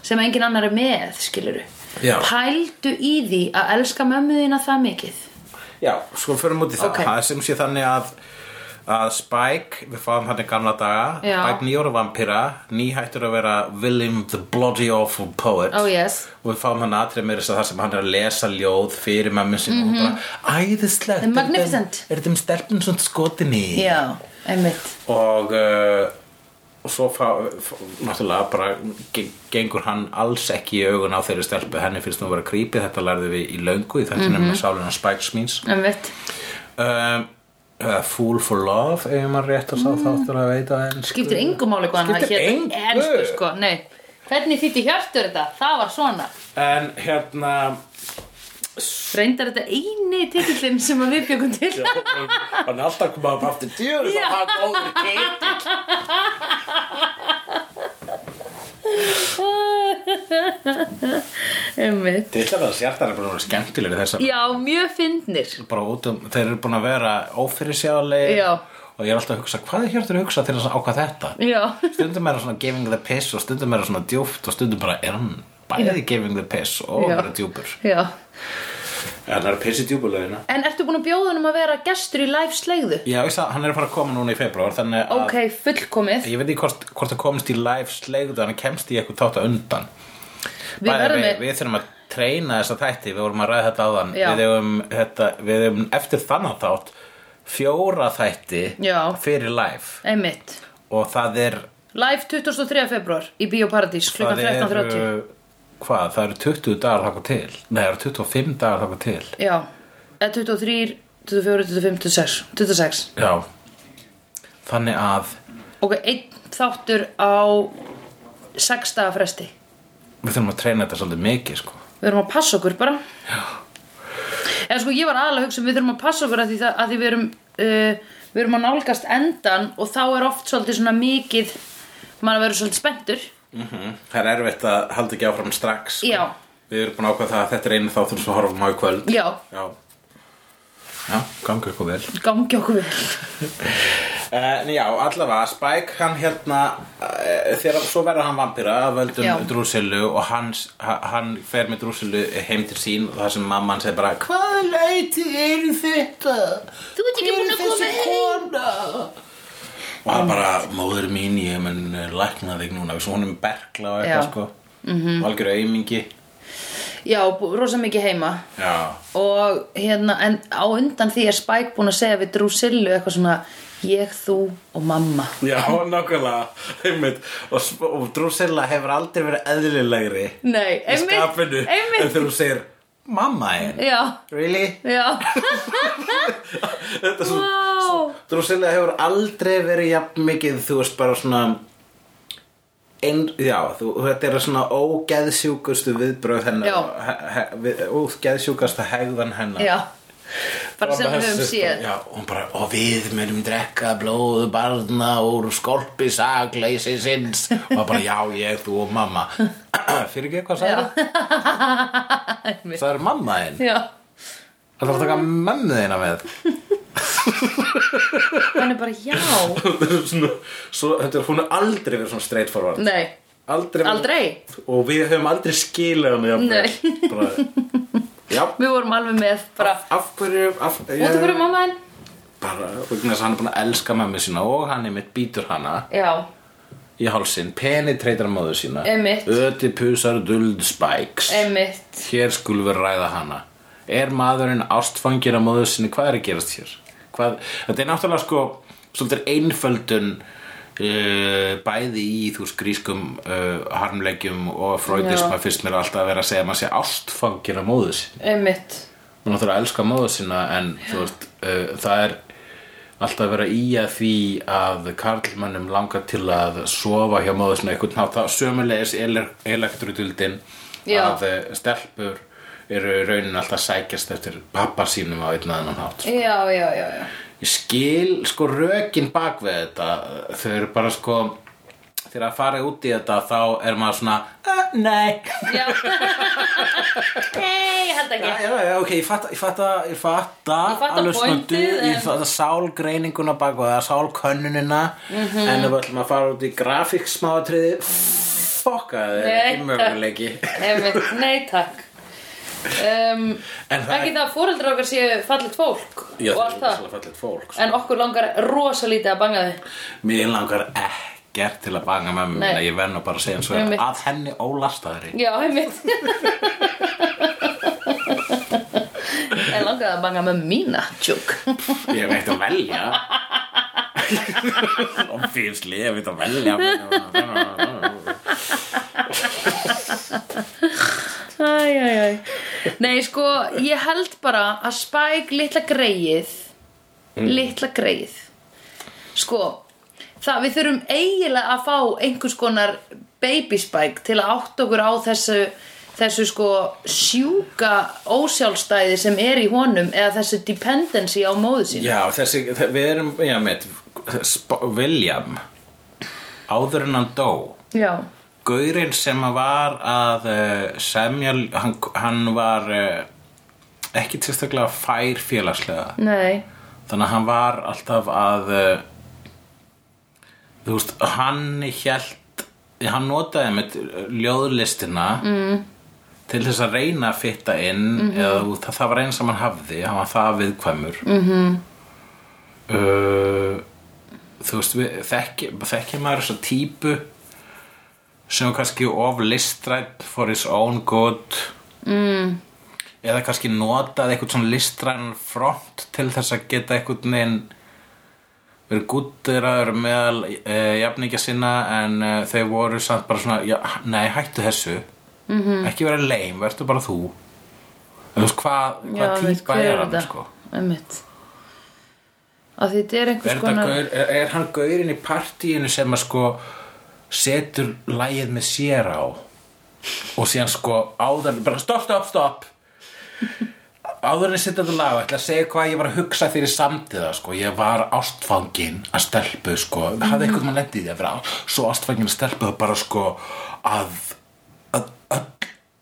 [SPEAKER 2] sem engin annar er með, skilur
[SPEAKER 1] Já.
[SPEAKER 2] Pældu í því að elska mömmu þína það mikið
[SPEAKER 1] Já, sko förum út í það,
[SPEAKER 2] Ok.
[SPEAKER 1] það er sem sé þannig að að Spike, við fáum hann í gamla daga
[SPEAKER 2] Já.
[SPEAKER 1] Spike nýjóra vampíra, nýhættur að vera William the Bloody Awful Poet
[SPEAKER 2] Oh, yes.
[SPEAKER 1] og við fáum hann atrið meira þess að það sem hann er að lesa ljóð fyrir mammi sinni mm -hmm. og hún bara æðislegt,
[SPEAKER 2] The Mhm. Magnificent.
[SPEAKER 1] er þeim stelpun svona skotin í
[SPEAKER 2] Já, einmitt
[SPEAKER 1] og uh, og svo fá, fá, náttúrulega bara ge- gengur hann alls ekki í augun á þeirri stelpu henni finnst hún að vera creepy, þetta lærði við í löngu í þættinum
[SPEAKER 2] Mhm.
[SPEAKER 1] mm -hmm. sálina Spikes Means
[SPEAKER 2] Einmitt
[SPEAKER 1] um, uh, Fool for Love ef maður rétt að sá mm. þáttur að veita en
[SPEAKER 2] Skiptir engum máli hvað hann
[SPEAKER 1] Skiptir
[SPEAKER 2] hét
[SPEAKER 1] engu.
[SPEAKER 2] í ensku, sko. Nei Hvernig þýtti hjartur þetta? Það var svona
[SPEAKER 1] en hérna
[SPEAKER 2] Reyndar þetta eini titillinn sem að við bjögum til
[SPEAKER 1] hann er alltaf komað upp aftur djúr
[SPEAKER 2] Já.
[SPEAKER 1] það var góður titill
[SPEAKER 2] Einmitt
[SPEAKER 1] titlar þess hjartar er bara verið skemmtilegri þess að
[SPEAKER 2] Já, mjög fyndnir
[SPEAKER 1] bara út um, þeir eru búin að vera ófyrirsjáðlega
[SPEAKER 2] Já.
[SPEAKER 1] og ég er alltaf að hugsa hvað er hjartur að hugsa til þess að ákvað þetta
[SPEAKER 2] Já
[SPEAKER 1] stundum er það svona giving the piss og stundum er það svona djúpt og stundum bara er hann bæði giving the piss og
[SPEAKER 2] Já.
[SPEAKER 1] bara djúpur
[SPEAKER 2] Já
[SPEAKER 1] hann er að pissi djúpulegina
[SPEAKER 2] En ertu búin að bjóða honum að vera gestur í live slegðu?
[SPEAKER 1] já, veist það, hann er að fara að koma núna í februar þannig að
[SPEAKER 2] Ok, fullkomið
[SPEAKER 1] ég veit ekki hvort, hvort það komist í live sleigðu hann kemst í eitthvað þátt að undan
[SPEAKER 2] Við
[SPEAKER 1] Bæði,
[SPEAKER 2] verðum
[SPEAKER 1] við,
[SPEAKER 2] með-
[SPEAKER 1] við þurfum að treyna þessa þætti við vorum að ræða þetta áðan
[SPEAKER 2] Já.
[SPEAKER 1] við hefum, þetta, við hefum eftir þannig þátt fjóra þætti
[SPEAKER 2] Já.
[SPEAKER 1] fyrir live
[SPEAKER 2] Einmitt
[SPEAKER 1] og það er
[SPEAKER 2] Live 23. februar í Bíóparadís klukkan
[SPEAKER 1] það er
[SPEAKER 2] 13.30
[SPEAKER 1] uh, hvað, það eru 20 dagar þakka til nei, það eru 25 dagar þakka til
[SPEAKER 2] Já, eða 23, 24, 25, 26 26
[SPEAKER 1] Já Þannig að
[SPEAKER 2] Ok, einn þáttur á 6 daga fresti
[SPEAKER 1] við þurfum að treyna þetta svolítið mikið sko.
[SPEAKER 2] Við erum að passa okkur bara Já Eða sko ég var aðalega að hugsa um við þurfum að passa okkur að því, það, að því við erum uh, við erum að nálgast endan og þá er oft svolítið svona mikið maður verður svolítið spenntur
[SPEAKER 1] Mm. það er erfitt að halda ekki áfram strax sko.
[SPEAKER 2] Já.
[SPEAKER 1] við erum búin að ákveða það að þetta er einu þáttur sem við horfum á í kvöld
[SPEAKER 2] Já,
[SPEAKER 1] já, já gangi ykkur vel
[SPEAKER 2] gangi okkur vel
[SPEAKER 1] Eh, En já, allavega, Spike, hann hérna, uh, þegar svo verður hann vampýra af völdum
[SPEAKER 2] Já.
[SPEAKER 1] drúsilu og hans, ha- hann fer með drúsilu heim til sín og það sem mamma hann segir bara Hvaða læti eru þetta?
[SPEAKER 2] Þú ert ekki búin að koma heim."
[SPEAKER 1] kona? Og hann bara, móður mín, ég mun eh, lækna þig núna, við svo honum berkla og
[SPEAKER 2] Já. Mhm.
[SPEAKER 1] eitthvað sko, mm -hmm. algjör aumingi.
[SPEAKER 2] Já, bú- rosa mikið heima
[SPEAKER 1] Já,
[SPEAKER 2] og hérna, en á undan því er Spike búin að segja við Drusillu eitthvað svona ég, þú og mamma
[SPEAKER 1] já, nákvæmlega, einmitt, og, sp- og drúsila hefur aldrei verið eðlilegri.
[SPEAKER 2] Nei,
[SPEAKER 1] í skapinu en
[SPEAKER 2] einmitt
[SPEAKER 1] þegar þú segir mamma einn
[SPEAKER 2] Já,
[SPEAKER 1] really?
[SPEAKER 2] já,
[SPEAKER 1] þetta er svona
[SPEAKER 2] wow
[SPEAKER 1] Drusilla hefur aldrei verið jafn mikið þú veist bara svona ein, já, þú, þetta er svona ógeðsjúkustu viðbröð hennar
[SPEAKER 2] Já.
[SPEAKER 1] he- he- við- ógeðsjúkasta hegðan hennar
[SPEAKER 2] Já, bara sem
[SPEAKER 1] Og
[SPEAKER 2] við höfum
[SPEAKER 1] þessi-
[SPEAKER 2] séð
[SPEAKER 1] já, og, hún bara, og við munum drekka blóðu barna úr skolpi sagleysi sinns og bara já, ég, þú og mamma fyrir ekki eitthvað sagði það það er mamma einn
[SPEAKER 2] Já,
[SPEAKER 1] Það þarf að taka mömmu þína með
[SPEAKER 2] hann er bara já
[SPEAKER 1] svona, svo, Þetta er hún er aldrei verið svona straight forward
[SPEAKER 2] Nei,
[SPEAKER 1] Aldrei, verið-
[SPEAKER 2] aldrei
[SPEAKER 1] Og við höfum aldrei skilað hann jafn vel.
[SPEAKER 2] Nei.
[SPEAKER 1] bara, Já,
[SPEAKER 2] Við vorum alveg með bara
[SPEAKER 1] af hverju af,
[SPEAKER 2] Út af hverju mamma henn?
[SPEAKER 1] Bara, vegna þess að hann er búin að elska mömmu sína Og hann er mitt býtur hana
[SPEAKER 2] Já,
[SPEAKER 1] Í hálsinn, penetreitar móður sína
[SPEAKER 2] Einmitt.
[SPEAKER 1] Ödipusar duld spikes
[SPEAKER 2] einmitt
[SPEAKER 1] Hér skulum við ræða hana Er maðurinn ástfangir á móður sinni Hvað er að gerast hér? Hvað, þetta er náttúrulega sko Svolítið einföldun uh, Bæði í þú veist, grískum uh, Harmlegjum og freudisma
[SPEAKER 2] Já.
[SPEAKER 1] Fyrst mér alltaf að vera að segja að maður sé ástfangir á móður sinni
[SPEAKER 2] Einmitt
[SPEAKER 1] Hún náttúrulega elskar móður sinna En þú veist, uh, það er Alltaf að vera í að því að karlmönnum langar til að sofa hjá móður sinna einhvern nátt það sömulegis elektrutildin
[SPEAKER 2] Já.
[SPEAKER 1] að eh, stelpur eru í raunin alltaf að sækjast eftir pappa sínum á einn aðeins hátt
[SPEAKER 2] Já, já, já, já
[SPEAKER 1] ég skil sko rökin bak við þetta þau eru bara sko þegar að fara út í þetta þá er maður svona "Eh, nei
[SPEAKER 2] Já Nei, ég held
[SPEAKER 1] Já,
[SPEAKER 2] ekki
[SPEAKER 1] já, já, ok, ég fatta, ég fatta, ég fatta,
[SPEAKER 2] Ég fatta
[SPEAKER 1] alveg svona
[SPEAKER 2] pointið,
[SPEAKER 1] dug- ég
[SPEAKER 2] en-
[SPEAKER 1] fatta sálgreininguna bak og það sálkönnunina
[SPEAKER 2] Mhm.
[SPEAKER 1] en ef við ætlum að fara út í grafíksmáatriði fokka það er
[SPEAKER 2] Nei,
[SPEAKER 1] ekki möguleiki
[SPEAKER 2] Einmitt, nei takk um,
[SPEAKER 1] En það
[SPEAKER 2] Ekki
[SPEAKER 1] er-
[SPEAKER 2] það að foreldrar okkar séu fallit fólk
[SPEAKER 1] Já, það
[SPEAKER 2] og allt
[SPEAKER 1] er
[SPEAKER 2] það
[SPEAKER 1] svolítið fallið fólk sko.
[SPEAKER 2] En okkur langar rosa lítið að banga þið
[SPEAKER 1] Mér langar ekkert til að banga með mér
[SPEAKER 2] Nei.
[SPEAKER 1] Ég verð nú bara að segja eins og
[SPEAKER 2] Einmitt.
[SPEAKER 1] er að henni ólastaðri
[SPEAKER 2] Já, einmitt En langar að banga með mína tjúk
[SPEAKER 1] Ég hef eitt að velja Obviously, ég hef eitt að velja
[SPEAKER 2] Æ, æ, æ Nei, sko, ég held bara að Spike litla greið
[SPEAKER 1] Mm.
[SPEAKER 2] Litla greið Sko, það við þurfum eiginlega að fá einhvers konar baby Spike til að átta okkur á þessu þessu sko sjúka ósjálfstæði sem er í honum eða þessu dependency á móðu sín
[SPEAKER 1] Já, þessi, þe- við erum, já, mitt Sp- William Áður en hann dó
[SPEAKER 2] Já,
[SPEAKER 1] Gaurinn sem að var að eh, semja, hann, hann var eh, ekki tilstaklega fær félagslega
[SPEAKER 2] nei
[SPEAKER 1] þannig að hann var alltaf að eh, þú veist, hann hélt hann notaði með ljóðlistina mm. til þess að reyna að fitta inn eða þú veist, það, það var eins sem hann hafði hann var það viðkvæmur mm -hmm. þú veist við, þekki, þekki maður þessa típu sem var kannski of listrætt for his own good eða kannski notað eitthvað svona listræn front til þess að geta eitthvað neginn verið gúttiraður meðal e, jafningja sinna en e, þau voru samt bara svona já, nei, hættu þessu -hmm. ekki vera leim, verður bara þú en þú veist hvað,
[SPEAKER 2] Já,
[SPEAKER 1] hvað
[SPEAKER 2] veit,
[SPEAKER 1] típa
[SPEAKER 2] hver
[SPEAKER 1] er hann
[SPEAKER 2] þetta?
[SPEAKER 1] sko
[SPEAKER 2] Einmitt Af því þetta er
[SPEAKER 1] er,
[SPEAKER 2] einhvers
[SPEAKER 1] konar...
[SPEAKER 2] konar
[SPEAKER 1] gaur, er, er hann gaurinn í partíinu sem að sko setur lægið með sér á og síðan sko áður bara stopp, stopp, stopp áður en ég setja þetta lag og ætla að segja hvað ég var að hugsa fyrir samtíða sko. ég var ástfangin að stelpu sko. hafði einhvern veginn lendið því að vera á- svo ástfangin að stelpu að bara sko að, að, að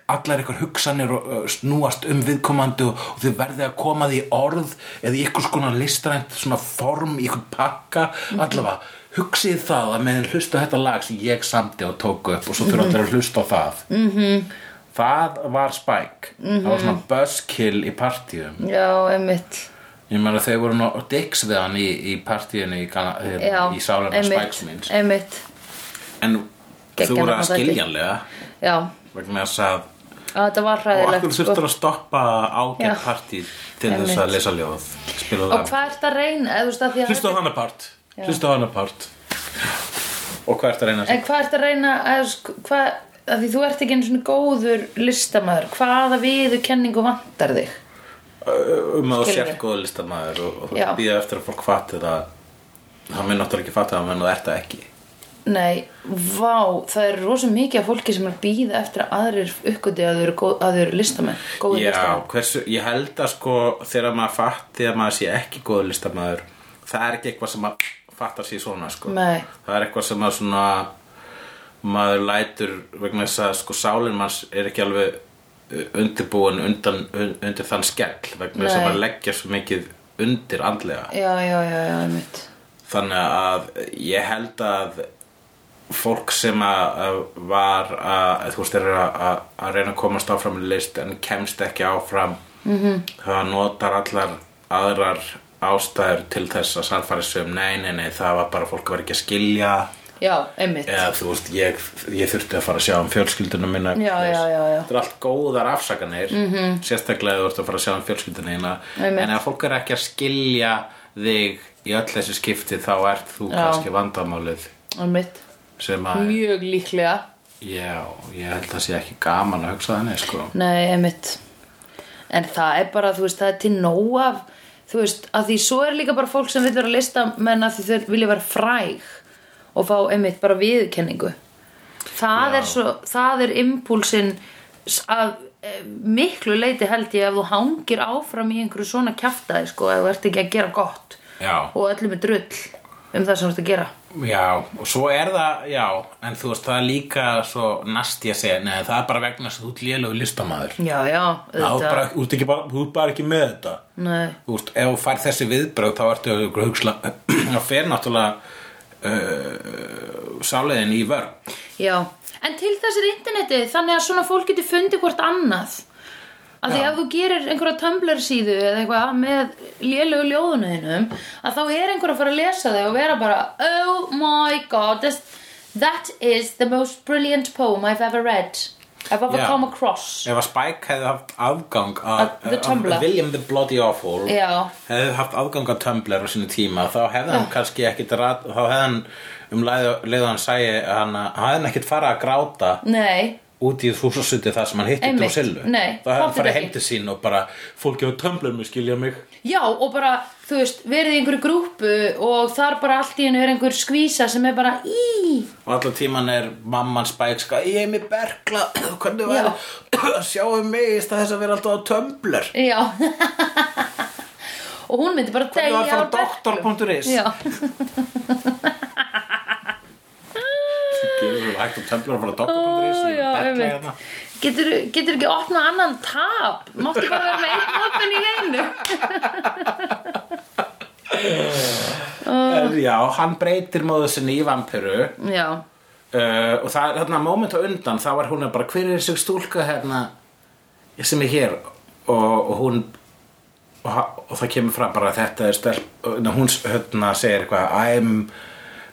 [SPEAKER 1] allar ykkur hugsanir og, uh, snúast um viðkomandi og, og þið verðið að koma því í orð eða í ykkur skona listrænt svona form í ykkur pakka allavega hugsið það að meðan hlusta á þetta lag sem ég samti og tók upp og svo þurfa allir að hlusta á það Það var Spike Það var svona buzzkill í partíum
[SPEAKER 2] Já, einmitt
[SPEAKER 1] Ég meina þau voru nú dicks við hann í, í partíinu í, Gana-
[SPEAKER 2] Já,
[SPEAKER 1] hérna, í sálega Spikes minns
[SPEAKER 2] Einmitt,
[SPEAKER 1] En
[SPEAKER 2] Geggjað
[SPEAKER 1] þú voru að
[SPEAKER 2] nafn á þetta.
[SPEAKER 1] skiljanlega
[SPEAKER 2] já
[SPEAKER 1] vegna þess að
[SPEAKER 2] Að Þetta var
[SPEAKER 1] og
[SPEAKER 2] hræðilegt sko.
[SPEAKER 1] akkur þurftur að stoppa ágætt
[SPEAKER 2] Já.
[SPEAKER 1] partí til þess
[SPEAKER 2] Einmitt.
[SPEAKER 1] að lesa ljóð spila
[SPEAKER 2] Og
[SPEAKER 1] það
[SPEAKER 2] hvað ert að reyna, eða þú veist að því að
[SPEAKER 1] Hlusta á hana part Hlusta á hana part Og hvað ertu að reyna að
[SPEAKER 2] En hvað ert að reyna að, sk- hvað, að því þú ert ekki einu svona góður listamaður hvaða viðu kenningu vantar þig
[SPEAKER 1] um að þú
[SPEAKER 2] Skilurðu?
[SPEAKER 1] sért góða listamæður og,
[SPEAKER 2] Já.
[SPEAKER 1] og býða eftir að fólk fatti það það minn náttúrulega ekki fatti það menn þú ert það ekki
[SPEAKER 2] Nei, vá, það er rosa mikið af fólki sem er að býða eftir að aðrir uppgöti að þau eru, góð, að þau eru listamenn góður
[SPEAKER 1] Já,
[SPEAKER 2] listamenn
[SPEAKER 1] hversu, ég held að sko þegar maður fatti að maður sé ekki góð listamæður það er ekki eitthvað sem maður fattar sér svona sko.
[SPEAKER 2] Nei.
[SPEAKER 1] það er eitthvað sem maður svona maður lætur vegna þess að sko sálinn manns er ekki alveg uh, undirbúin undan, un, undir þann skell vegna þess að
[SPEAKER 2] Nei.
[SPEAKER 1] maður leggja svo mikið undir andlega
[SPEAKER 2] Já, já, já, já, einmitt
[SPEAKER 1] þannig að ég held að fólk sem að að var að þú veist er að, að, að reyna að komast áfram í list en kemst ekki áfram -hmm. það notar allar aðrar ástæður til þess að sannfæri sem nei, nei, nei, það var bara fólk var ekki að skilja
[SPEAKER 2] Já, einmitt
[SPEAKER 1] eða þú veist, ég, ég þurfti að fara að sjá um fjölskyldunum minna
[SPEAKER 2] Já, já, já, já. Mhm.
[SPEAKER 1] þetta er allt góðar afsakanir -hmm. sérstaklega ef þú ert að fara að sjá um fjölskyldunina
[SPEAKER 2] Einmitt.
[SPEAKER 1] en ef fólk er ekki að skilja þig í öll þessi skipti þá ert þú
[SPEAKER 2] Já.
[SPEAKER 1] kannski vandamálið
[SPEAKER 2] Einmitt,
[SPEAKER 1] sem að,
[SPEAKER 2] mjög líklega
[SPEAKER 1] já, ég held að sé ekki gaman að hugsa þannig, sko
[SPEAKER 2] Nei, einmitt En það er bara, þú veist, það er til nóg af Þú veist, að því svo er líka bara fólk sem vil vera listamenn að því þau vilja vera fræg og fá einmitt bara viðkenningu Það
[SPEAKER 1] Já.
[SPEAKER 2] er svo, það er impúlsin að eh, miklu leiti held ég ef þú hangir áfram í einhverju svona kjaftaði sko, ef þú ert ekki að gera gott
[SPEAKER 1] Já.
[SPEAKER 2] og öllum er drull um það sem þú ert að gera
[SPEAKER 1] Já, og svo er það, já, en þú veist, það er líka svo nasti að segja, nei, það er bara vegna þess að þú ert lélegu listamaður.
[SPEAKER 2] Já, já,
[SPEAKER 1] Já, þú ert bara, þú ert ekki bara, þú ert bara ekki með þetta.
[SPEAKER 2] Nei,
[SPEAKER 1] Þú veist, ef þú fær þessi viðbrögð þá ertu að hugsla þá fer náttúrulega uh, sáleiðin í vörn
[SPEAKER 2] Já, en til þess er internetið þannig að svona fólk getur fundið hvort annað að því
[SPEAKER 1] Já.
[SPEAKER 2] ef þú gerir einhverja Tumblr síðu eða eitthvað með lélögu ljóðunum þínum að þá er einhver að fara að lesa þau og vera bara Oh my god, this, that is the most brilliant poem I've ever read I've ever
[SPEAKER 1] Já.
[SPEAKER 2] come across
[SPEAKER 1] ef að Spike hefði haft afgang að,
[SPEAKER 2] Að the Tumblr.
[SPEAKER 1] William the Bloody Awful
[SPEAKER 2] Já.
[SPEAKER 1] hefði haft afgang að Tumblr á sínu tíma þá hefði hann kannski ekkit rat, þá hefði hann um leiðu hann sæi hann að- hann hefði hann ekkit fara að gráta
[SPEAKER 2] Nei,
[SPEAKER 1] út í þúsasuti þar sem hann hitti
[SPEAKER 2] Einmitt.
[SPEAKER 1] Drusillu
[SPEAKER 2] Nei,
[SPEAKER 1] þá hefði hann
[SPEAKER 2] pottþétt
[SPEAKER 1] farið
[SPEAKER 2] ekki.
[SPEAKER 1] heim til sín og bara fólki á Tumblr mér skilja mig
[SPEAKER 2] já og bara þú veist, verið í einhverju grúpu og þar bara allt í hennu er einhver skvísa sem er bara í
[SPEAKER 1] og allan tíman er mamman spækska ég er mér bergla, hvernig
[SPEAKER 2] Já.
[SPEAKER 1] var að sjá um mig í stað þess að vera alltaf á tömbler
[SPEAKER 2] Já Og hún myndi bara
[SPEAKER 1] hvernig var að
[SPEAKER 2] deyja úr
[SPEAKER 1] fara á
[SPEAKER 2] berklum.
[SPEAKER 1] doktor.is
[SPEAKER 2] Já,
[SPEAKER 1] gerur þú hægt um tömbler að fara á doktor.is
[SPEAKER 2] Ó,
[SPEAKER 1] ég
[SPEAKER 2] já,
[SPEAKER 1] er bergla
[SPEAKER 2] einmitt.
[SPEAKER 1] hérna.
[SPEAKER 2] getur, getur ekki opnað annan tab Máttu bara vera með einn opin í einu
[SPEAKER 1] En Eh, já, hann breytir móðu sinni í vampiru uh,
[SPEAKER 2] Já,
[SPEAKER 1] Eh, og það er þarna moment á undan þá var hún bara, hver er þessi stúlka hérna sem er hér og, og hún og, ha- og það kemur fram bara að þetta er stelp og hún hérna segir eitthvað I'm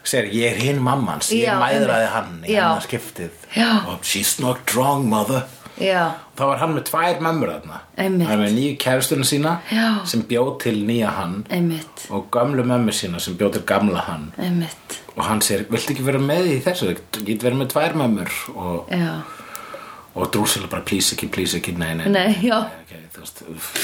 [SPEAKER 1] segir ég er hinn mammans ég
[SPEAKER 2] Já,
[SPEAKER 1] mæðraði
[SPEAKER 2] einmitt.
[SPEAKER 1] hann í
[SPEAKER 2] Já.
[SPEAKER 1] hennar skiptið
[SPEAKER 2] Já.
[SPEAKER 1] og she's not drunk mother
[SPEAKER 2] já,
[SPEAKER 1] þá var hann með tvær mömmur þarna
[SPEAKER 2] Einmitt.
[SPEAKER 1] hann er með nýju kæristunum sína
[SPEAKER 2] Já.
[SPEAKER 1] sem bjóð til nýja hann
[SPEAKER 2] einmitt
[SPEAKER 1] og gamlu mömmu sína sem bjóð til gamla hann
[SPEAKER 2] Einmitt,
[SPEAKER 1] og hann segir, viltu ekki vera með í þessu þú getur verið með tvær mömmur og,
[SPEAKER 2] já
[SPEAKER 1] og Drusilla bara please ekki, please ekki, nei, nei,
[SPEAKER 2] Nei, já.
[SPEAKER 1] ok, þú veist uff.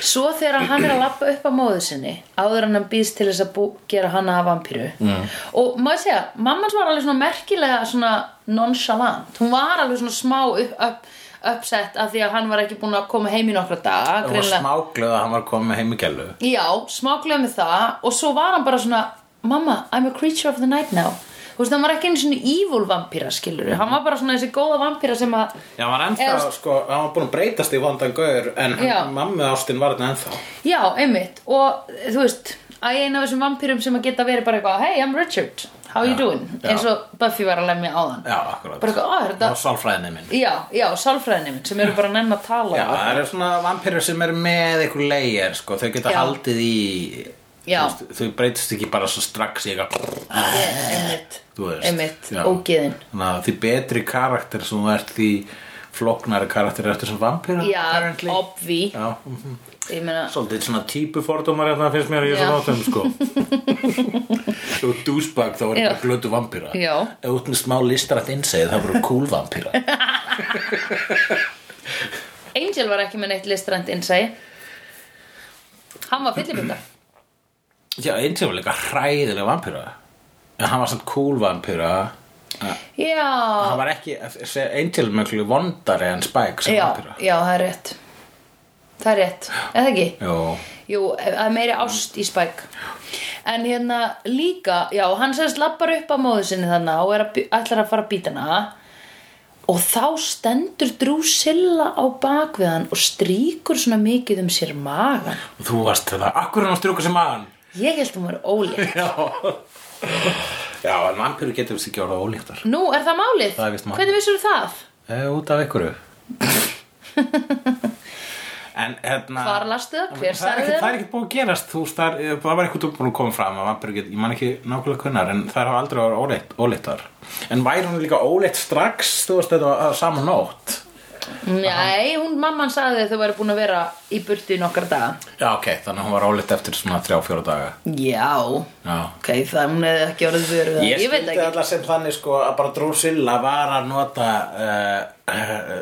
[SPEAKER 2] Svo þegar hann er að lappa upp á móðu sinni áður en hann býðst til þess að bú, gera hana að vampíru mm. og maður segja, mammas var alveg svona merkilega svona nonchalant hún var alveg svona smá upp, upp, uppsett af því að hann var ekki búin að koma heim í nokkra
[SPEAKER 1] Það
[SPEAKER 2] daga
[SPEAKER 1] var
[SPEAKER 2] greinilega.
[SPEAKER 1] smáglöð að hann var komið með heimikælu
[SPEAKER 2] Já, smá glemur það og svo var hann bara svona Mamma, I'm a creature of the night now Þú veist, hann var ekki einu svona evil vampíra, skilur Hann var bara svona þessi góða vampíra sem að
[SPEAKER 1] Já, hann var ennþá,
[SPEAKER 2] Eða-
[SPEAKER 1] sko, hann var búin að breytast í vondan gaur En
[SPEAKER 2] Já.
[SPEAKER 1] hann- mamma ástinn var hann ennþá
[SPEAKER 2] Já, einmitt Og þú veist, að ég eina af þessum vampýrum sem að geta verið bara eitthvað Hey, I'm Richard, how you
[SPEAKER 1] Já,
[SPEAKER 2] doing?
[SPEAKER 1] já.
[SPEAKER 2] Eins og Buffy var að lemja áðan
[SPEAKER 1] Já, akkurat
[SPEAKER 2] Bara eitthvað, á, er
[SPEAKER 1] Það
[SPEAKER 2] þetta
[SPEAKER 1] var sálfræðinni minn
[SPEAKER 2] Já, já, sálfræðinni minn sem eru bara að nenn að tala
[SPEAKER 1] Já, það eru svona vampirur sem eru með einhver leir, sko, þau geta
[SPEAKER 2] Já.
[SPEAKER 1] haldið í
[SPEAKER 2] Já.
[SPEAKER 1] þú veist, Þau breytast ekki bara svo strax í eitthvað
[SPEAKER 2] Ég- Einmitt,
[SPEAKER 1] Þú veist,
[SPEAKER 2] einmitt,
[SPEAKER 1] já.
[SPEAKER 2] ógeðin
[SPEAKER 1] Þannig að því betri karakter sem þú ert því flóknari karakter ertu sem vampira
[SPEAKER 2] Já,
[SPEAKER 1] apparently.
[SPEAKER 2] obvi
[SPEAKER 1] Já, mhm.
[SPEAKER 2] Ég meina,
[SPEAKER 1] svolítið svona típu fordómar ef það finnst mér að ég er
[SPEAKER 2] Já.
[SPEAKER 1] svona átum sko Þú ert dúsbag þá er
[SPEAKER 2] Já.
[SPEAKER 1] þetta glötu vampíra
[SPEAKER 2] Já.
[SPEAKER 1] Ef þú ert með smá listrætt innsæð þá voru cool vampíra
[SPEAKER 2] Angel var ekki með neitt listrænt innsæi Hann var fyllibunda
[SPEAKER 1] Já, Angel var líka hræðileg vampíra En hann var samt cool vampíra
[SPEAKER 2] Já
[SPEAKER 1] Hann var ekki, Angel er mjög vondari en Spike sem
[SPEAKER 2] já,
[SPEAKER 1] vampíra
[SPEAKER 2] já, það er rétt Það er rétt, eða ekki
[SPEAKER 1] Jó,
[SPEAKER 2] Jú, það er meiri ást í Spike En hérna líka Já, hann sérst lappar upp á móðu sinni þannig og er að, bí- ætlar að fara að býta hana og þá stendur Drusilla á bak við hann og strýkur svona mikið um sér magan
[SPEAKER 1] og þú varst þetta Akkur er hann að strjúka um sem hann
[SPEAKER 2] Ég held hún var ólétt
[SPEAKER 1] Já Já, en vampíru getur við ekki orða ólíktar
[SPEAKER 2] Nú, er það málið?
[SPEAKER 1] Það er víst málið.
[SPEAKER 2] Hvernig vissur það?
[SPEAKER 1] Eh, Út af ykkur En hérna
[SPEAKER 2] Hvar lastu það? Hver
[SPEAKER 1] það er
[SPEAKER 2] sagði
[SPEAKER 1] ekkert- það
[SPEAKER 2] það?
[SPEAKER 1] er ekkert búið að gerast þú veist, það, er, það var eitthvað búin að koma fram að vampirur get, ég man ekki nákvæmlega kunnar en það hafa aldrei verið óleitt, óleittar en væri hún líka óleitt strax þú veist þetta var saman nótt
[SPEAKER 2] Nei, hún, mamman sagði að þau væri búin að vera í burtu í nokkar daga.
[SPEAKER 1] já ok, þannig að hún var óleitt eftir svona 3-4 daga
[SPEAKER 2] Já,
[SPEAKER 1] já
[SPEAKER 2] ok, það hún hefði ekki orðið fyrir það.
[SPEAKER 1] Ég,
[SPEAKER 2] Ég, veit
[SPEAKER 1] skildi
[SPEAKER 2] ekki.
[SPEAKER 1] allar sem þannig sko að bara Drusilla var að nota uh, uh,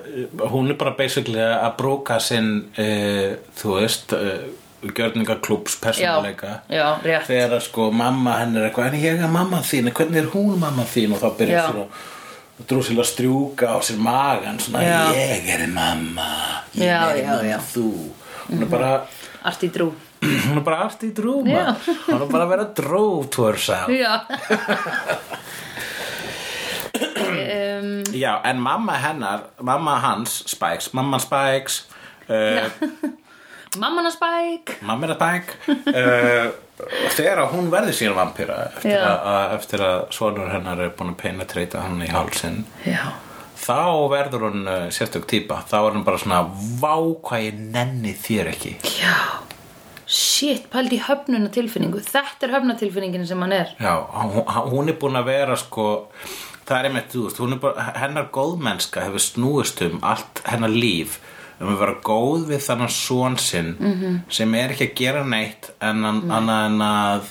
[SPEAKER 1] hún er bara basically að brúka sinn uh, þú veist uh, gjörningaklúps persónuleika
[SPEAKER 2] Já, já, rétt.
[SPEAKER 1] þegar að sko mamma henn er eitthvað en ég er mamma þín, en hvernig er hún mamma þín og þá
[SPEAKER 2] Já.
[SPEAKER 1] byrjar svona Drusilla að strjúka á sér magan svona
[SPEAKER 2] Já.
[SPEAKER 1] ég er mamma ég
[SPEAKER 2] Já,
[SPEAKER 1] er
[SPEAKER 2] já,
[SPEAKER 1] mamma
[SPEAKER 2] já. Mhm.
[SPEAKER 1] þú hún er bara
[SPEAKER 2] Arti drú.
[SPEAKER 1] hún er bara aftur í drúma
[SPEAKER 2] Já.
[SPEAKER 1] hún er bara að vera dró to herself
[SPEAKER 2] Já. um,
[SPEAKER 1] Já, en mamma hennar, mamma hans, Spikes, mamma Spikes, uh,
[SPEAKER 2] mamman að spæk.
[SPEAKER 1] mamma er að Spike, uh, þegar að hún verður síðan vampíra eftir,
[SPEAKER 2] Já.
[SPEAKER 1] að, að, eftir að sonur hennar er búin að penetreita hann í hálsinn,
[SPEAKER 2] Já.
[SPEAKER 1] þá verður hún uh, sérstök típa, þá er hún bara svona, vá hvað ég nenni þér ekki.
[SPEAKER 2] Já. Shit, pældi í höfnunatilfinningu. Þetta er höfnunatilfinningin sem hann er.
[SPEAKER 1] Já, hún, hún er búin að vera sko það er einmitt, þú veist, hún er bara hennar góðmennska hefur snúist um allt hennar líf um að vera góð við þannan son sinn
[SPEAKER 2] Mhm.
[SPEAKER 1] -hmm. sem er ekki að gera neitt en hann, annað en að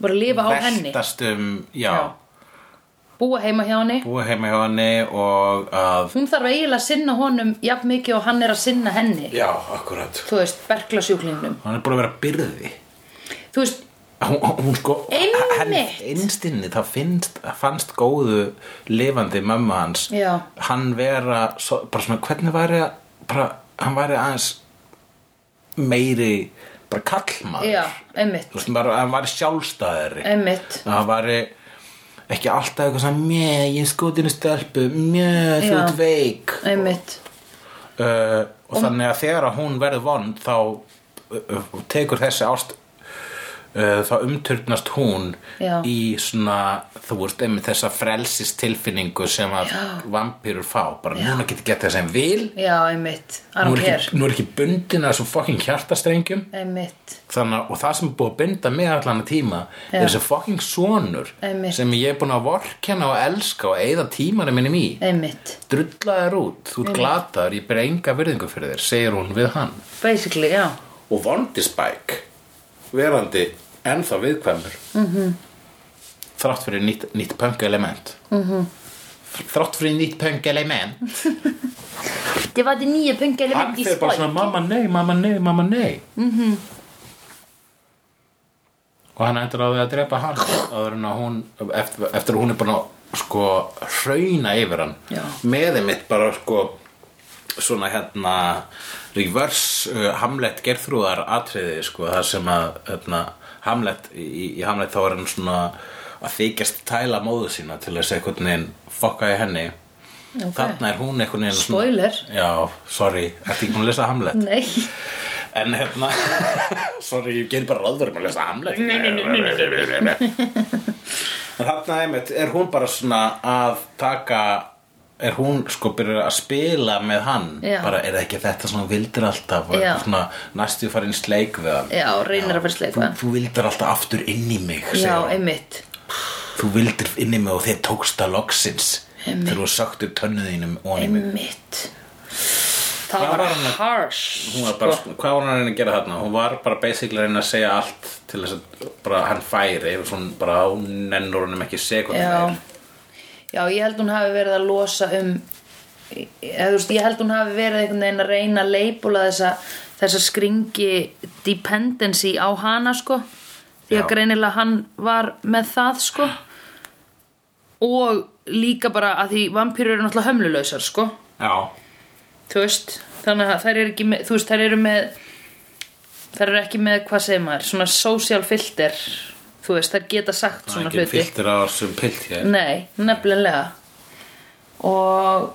[SPEAKER 2] Bara lifa á henni.
[SPEAKER 1] veltast um, já,
[SPEAKER 2] Já. Búa heima hjá henni.
[SPEAKER 1] búa heima hjá henni og að
[SPEAKER 2] Hún þarf eiginlega að sinna honum jafn mikið og hann er að sinna henni.
[SPEAKER 1] Já, akkurat
[SPEAKER 2] Þú veist, berglasjúklingnum.
[SPEAKER 1] Hún er búin að vera byrði
[SPEAKER 2] Þú veist,
[SPEAKER 1] Hún, hún sko,
[SPEAKER 2] Einmitt.
[SPEAKER 1] einstinni þá finnst, fannst góðu lifandi mömmu hans
[SPEAKER 2] Já.
[SPEAKER 1] hann vera, svo, bara svona hvernig væri að- bara, hann væri aðeins meiri bara kallmaður
[SPEAKER 2] já, einmitt.
[SPEAKER 1] Þú veist, bara, hann væri sjálfstæðari
[SPEAKER 2] Einmitt,
[SPEAKER 1] hann væri ekki alltaf eitthvað svona mjö, ég skotinu stelpu mjö, þú
[SPEAKER 2] Já.
[SPEAKER 1] ert veik
[SPEAKER 2] einmitt
[SPEAKER 1] uh, og þannig að þegar að hún verður vond þá uh, uh, tekur þessi ást uh, þá umturnast hún
[SPEAKER 2] Já.
[SPEAKER 1] í svona þú veist einmitt þessa frelsistilfinningu sem að vampýrur fá bara núna getur gett það sem vil
[SPEAKER 2] Já, einmitt, I
[SPEAKER 1] nú er,
[SPEAKER 2] don't care
[SPEAKER 1] ekki, nú er ekki bundin að þessum fucking hjartastrengjum
[SPEAKER 2] Einmitt,
[SPEAKER 1] Þannig, að- og það sem er búið að binda mig allan að tíma
[SPEAKER 2] Já.
[SPEAKER 1] er þessi fucking sonur
[SPEAKER 2] Einmitt.
[SPEAKER 1] sem ég er búin að vorkenna og elska og eigða tímanum minnum í
[SPEAKER 2] einmitt
[SPEAKER 1] drulla þér út, þú ert glataður ég ber enga virðingu fyrir þér, segir hún við hann
[SPEAKER 2] Basically, já
[SPEAKER 1] og vondi Spike verandi ennþá viðkvæmur mm -hmm. þrátt fyrir nýtt, nýtt punk element mm -hmm. þrátt fyrir nýtt punk element
[SPEAKER 2] Llevate nio pengar i Mhm.
[SPEAKER 3] Hann
[SPEAKER 2] menti
[SPEAKER 3] fer bara svona mamma nei, mamma nei, mamma nei -hmm. Og hann endur á því að drepa hann áður en að hún, eftir, eftir að hún er bara sko hrauna yfir hann
[SPEAKER 2] Já.
[SPEAKER 1] með einmitt bara sko svona hérna reverse uh, Hamlet gerþrúðar atriði sko það sem að hérna, Hamlet, í, í Hamlet þá er hann svona að þykjast tæla móðu sína til þess að einhvern veginn fokka í henni
[SPEAKER 2] Ok.
[SPEAKER 1] þarna er hún einhvern veginn svona-
[SPEAKER 2] Spoiler. Mm.
[SPEAKER 1] já, sorry, ertu ekki búin að lesa Hamlet
[SPEAKER 2] Nei,
[SPEAKER 1] En hérna, sorry, ég ger bara ráðverðum að lesa Hamlet Nei, nei, nei, nei, nei En þarna einmitt, er hún bara svona að taka Er hún sko byrjar að spila með hann
[SPEAKER 2] Já.
[SPEAKER 1] Bara er það ekki þetta sem hún vildir alltaf Og
[SPEAKER 2] Já.
[SPEAKER 1] Svona næstu farin sleik við hann
[SPEAKER 2] já, reynir að fara sleika
[SPEAKER 1] Þú, þú vildir alltaf aftur inn í mig segir
[SPEAKER 2] Já,
[SPEAKER 1] hún.
[SPEAKER 2] einmitt
[SPEAKER 1] Þú vildir inn í mig og þeir tókst að loksins
[SPEAKER 2] Einmitt.
[SPEAKER 1] Þegar þú söktu tönnuðinum og í mig
[SPEAKER 2] Einmitt Það
[SPEAKER 1] Hvað
[SPEAKER 2] var
[SPEAKER 1] var hann að-
[SPEAKER 2] harsh
[SPEAKER 1] hún var bara,
[SPEAKER 2] sko.
[SPEAKER 1] sko, hvað var hann að reyna að gera þarna hún var bara basically að reyna að segja allt til þess að bara hann færi svona bara hún nennur honum ekki sekund
[SPEAKER 2] Já Já, ég held hún hafi verið að losa um eða, þú veist, ég held hún hafi verið einhvern veginn að reyna að leipula þessa, þessa skringi dependency á hana sko því
[SPEAKER 1] Já.
[SPEAKER 2] að greinilega hann var með það sko og líka bara að því vampýrur eru náttúrulega hömlulausar sko
[SPEAKER 1] já,
[SPEAKER 2] þú veist þannig að þær eru ekki með, þú veist, þær eru með þær eru ekki með, hvað segir maður svona social filter þú veist, þær geta
[SPEAKER 1] það
[SPEAKER 2] sagt
[SPEAKER 1] er
[SPEAKER 2] svona
[SPEAKER 1] ekki
[SPEAKER 2] hluti
[SPEAKER 1] fylltir á þessum pilt hér
[SPEAKER 2] Nei, nefnilega og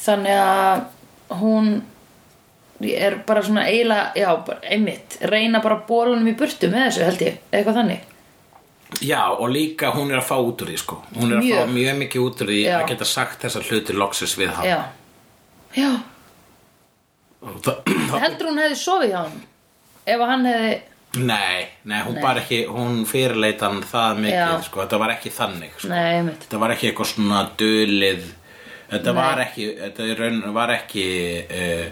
[SPEAKER 2] þannig að hún er bara svona eiginlega, já, bara, einmitt reyna bara bólunum í burtu með þessu held ég, eitthvað þannig
[SPEAKER 1] já, og líka hún er að fá út úr því sko hún er að
[SPEAKER 2] Mjög.
[SPEAKER 1] fá mjög mikið út úr því
[SPEAKER 2] Já.
[SPEAKER 1] að geta sagt þessa hluti loksins við hann
[SPEAKER 2] Já, já,
[SPEAKER 1] Og það,
[SPEAKER 2] heldur hún hefði sofið hjá hann ef að hann hefði
[SPEAKER 1] nei, nei, hún bara ekki hún fyrirleita hann það mikið
[SPEAKER 2] Já.
[SPEAKER 1] sko, þetta var ekki þannig sko.
[SPEAKER 2] Nei, einmitt,
[SPEAKER 1] þetta var ekki eitthvað svona dölið þetta
[SPEAKER 2] Nei.
[SPEAKER 1] var ekki þetta í raun var ekki uh,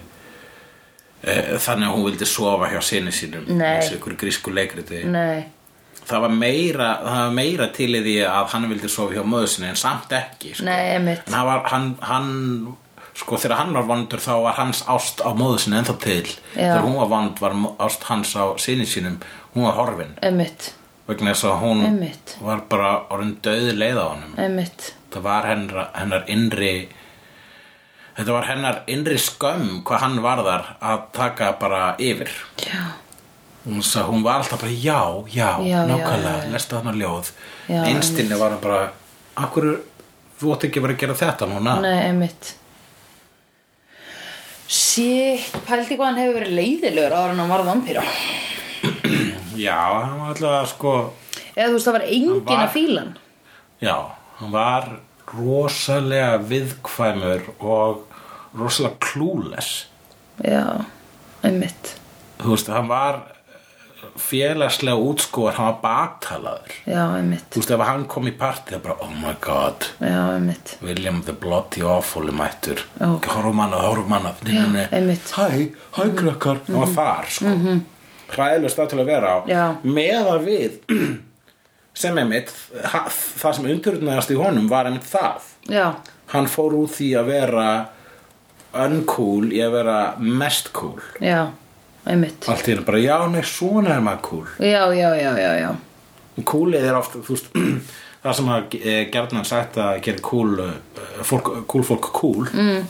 [SPEAKER 1] uh, þannig að hún vildi sofa hjá sinni sínum
[SPEAKER 2] Nei.
[SPEAKER 1] eins og ykkur grísku leikriti
[SPEAKER 2] nei
[SPEAKER 1] það var meira, það var meira til í því að hann vildi sofa hjá möðu sinni en samt ekki sko.
[SPEAKER 2] Nei, einmitt
[SPEAKER 1] en hann var hann, hann sko þegar hann var vondur þá var hans ást á móðu sinni ennþá til
[SPEAKER 2] Já.
[SPEAKER 1] þegar hún var vond var mó- ást hans á sinni sínum hún var horfin
[SPEAKER 2] Einmitt,
[SPEAKER 1] vegna þess að hún
[SPEAKER 2] Einmitt.
[SPEAKER 1] var bara orðin döð leið á honum
[SPEAKER 2] einmitt
[SPEAKER 1] það var hennar, hennar innri þetta var hennar innri skömm hvað hann varðar að taka bara yfir
[SPEAKER 2] Já,
[SPEAKER 1] hún, sa, hún var alltaf bara já, já,
[SPEAKER 2] Já,
[SPEAKER 1] nákvæmlega,
[SPEAKER 2] já, já.
[SPEAKER 1] lestu hann á ljóð
[SPEAKER 2] Já,
[SPEAKER 1] einstinni var hann bara akkur, þú átt ekki að vera að gera þetta núna
[SPEAKER 2] nei, einmitt Sitt, pældi hvað hann hefur verið leiðilegur ára en hann varð vampíra
[SPEAKER 1] já, hann var alltaf sko
[SPEAKER 2] Eða þú veist, það var engin
[SPEAKER 1] Hann var-
[SPEAKER 2] að fíla hann
[SPEAKER 1] já, hann var rosalega viðkvæmur og rosalega klúles
[SPEAKER 2] Já, einmitt
[SPEAKER 1] þú veist, hann var félagslega útskóar, hann var baktalaður
[SPEAKER 2] Já, einmitt
[SPEAKER 1] Þú veist, ef hann kom í partí það bara, oh my god,
[SPEAKER 2] Já, einmitt
[SPEAKER 1] William the Bloody Awful er mættur.
[SPEAKER 2] Já.
[SPEAKER 1] Horfum hann að, horfum hann að,
[SPEAKER 2] Já,
[SPEAKER 1] nynni,
[SPEAKER 2] einmitt. Mhm.
[SPEAKER 1] hæ, hæ krakkar. Hann var þar, sko. Mm -hmm. Hræðilust til að vera á.
[SPEAKER 2] Já.
[SPEAKER 1] Meðan við, sem einmitt, ha- það sem undurnaðast í honum var einmitt það.
[SPEAKER 2] Já,
[SPEAKER 1] Hann fór út því að vera uncool í að vera mest cool.
[SPEAKER 2] já, einmitt
[SPEAKER 1] Allt í henni bara, já, nei, svona er maður cool.
[SPEAKER 2] Já, já, já, já, já
[SPEAKER 1] Kúlið er oft, þú veist, það sem að e, gerðnan sagt að gera kúl, eh, fólk, kúl fólk kúl mm.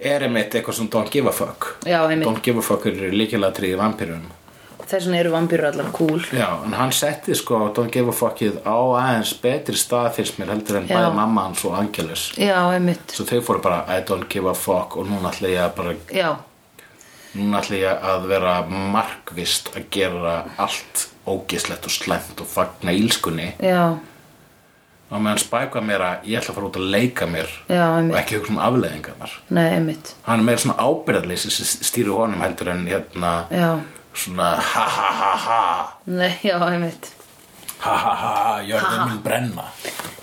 [SPEAKER 1] er einmitt eitthvað sem don't give a fuck.
[SPEAKER 2] Já, einmitt.
[SPEAKER 1] Don't give a fuck eru líkilega tríði vampýrum.
[SPEAKER 2] Þess vegna eru vampýrur allar cool
[SPEAKER 1] Já, en hann setti sko don't give a fuckið á aðeins betri stað fyrst mér heldur en
[SPEAKER 2] Já.
[SPEAKER 1] bæði mamma hans og Angelus.
[SPEAKER 2] Já, einmitt
[SPEAKER 1] Svo þau fóru bara I don't give a fuck og núna ætla ég að bara,
[SPEAKER 2] Já,
[SPEAKER 1] núna ætla ég að vera markvist að gera allt ógislegt og slæmt og fagna ílskunni.
[SPEAKER 2] já,
[SPEAKER 1] og meðan spæka mér að ég ætla að fara út að leika mér
[SPEAKER 2] já,
[SPEAKER 1] og
[SPEAKER 2] einmitt
[SPEAKER 1] ekki hugsa um afleðingarnar
[SPEAKER 2] Nei, einmitt
[SPEAKER 1] hann er meira svona ábyrðarleysi sem stýri honum heldur en hérna
[SPEAKER 2] Já,
[SPEAKER 1] svona ha ha ha ha
[SPEAKER 2] nei, já, einmitt
[SPEAKER 1] ha ha ha ha, jörðin mun brenna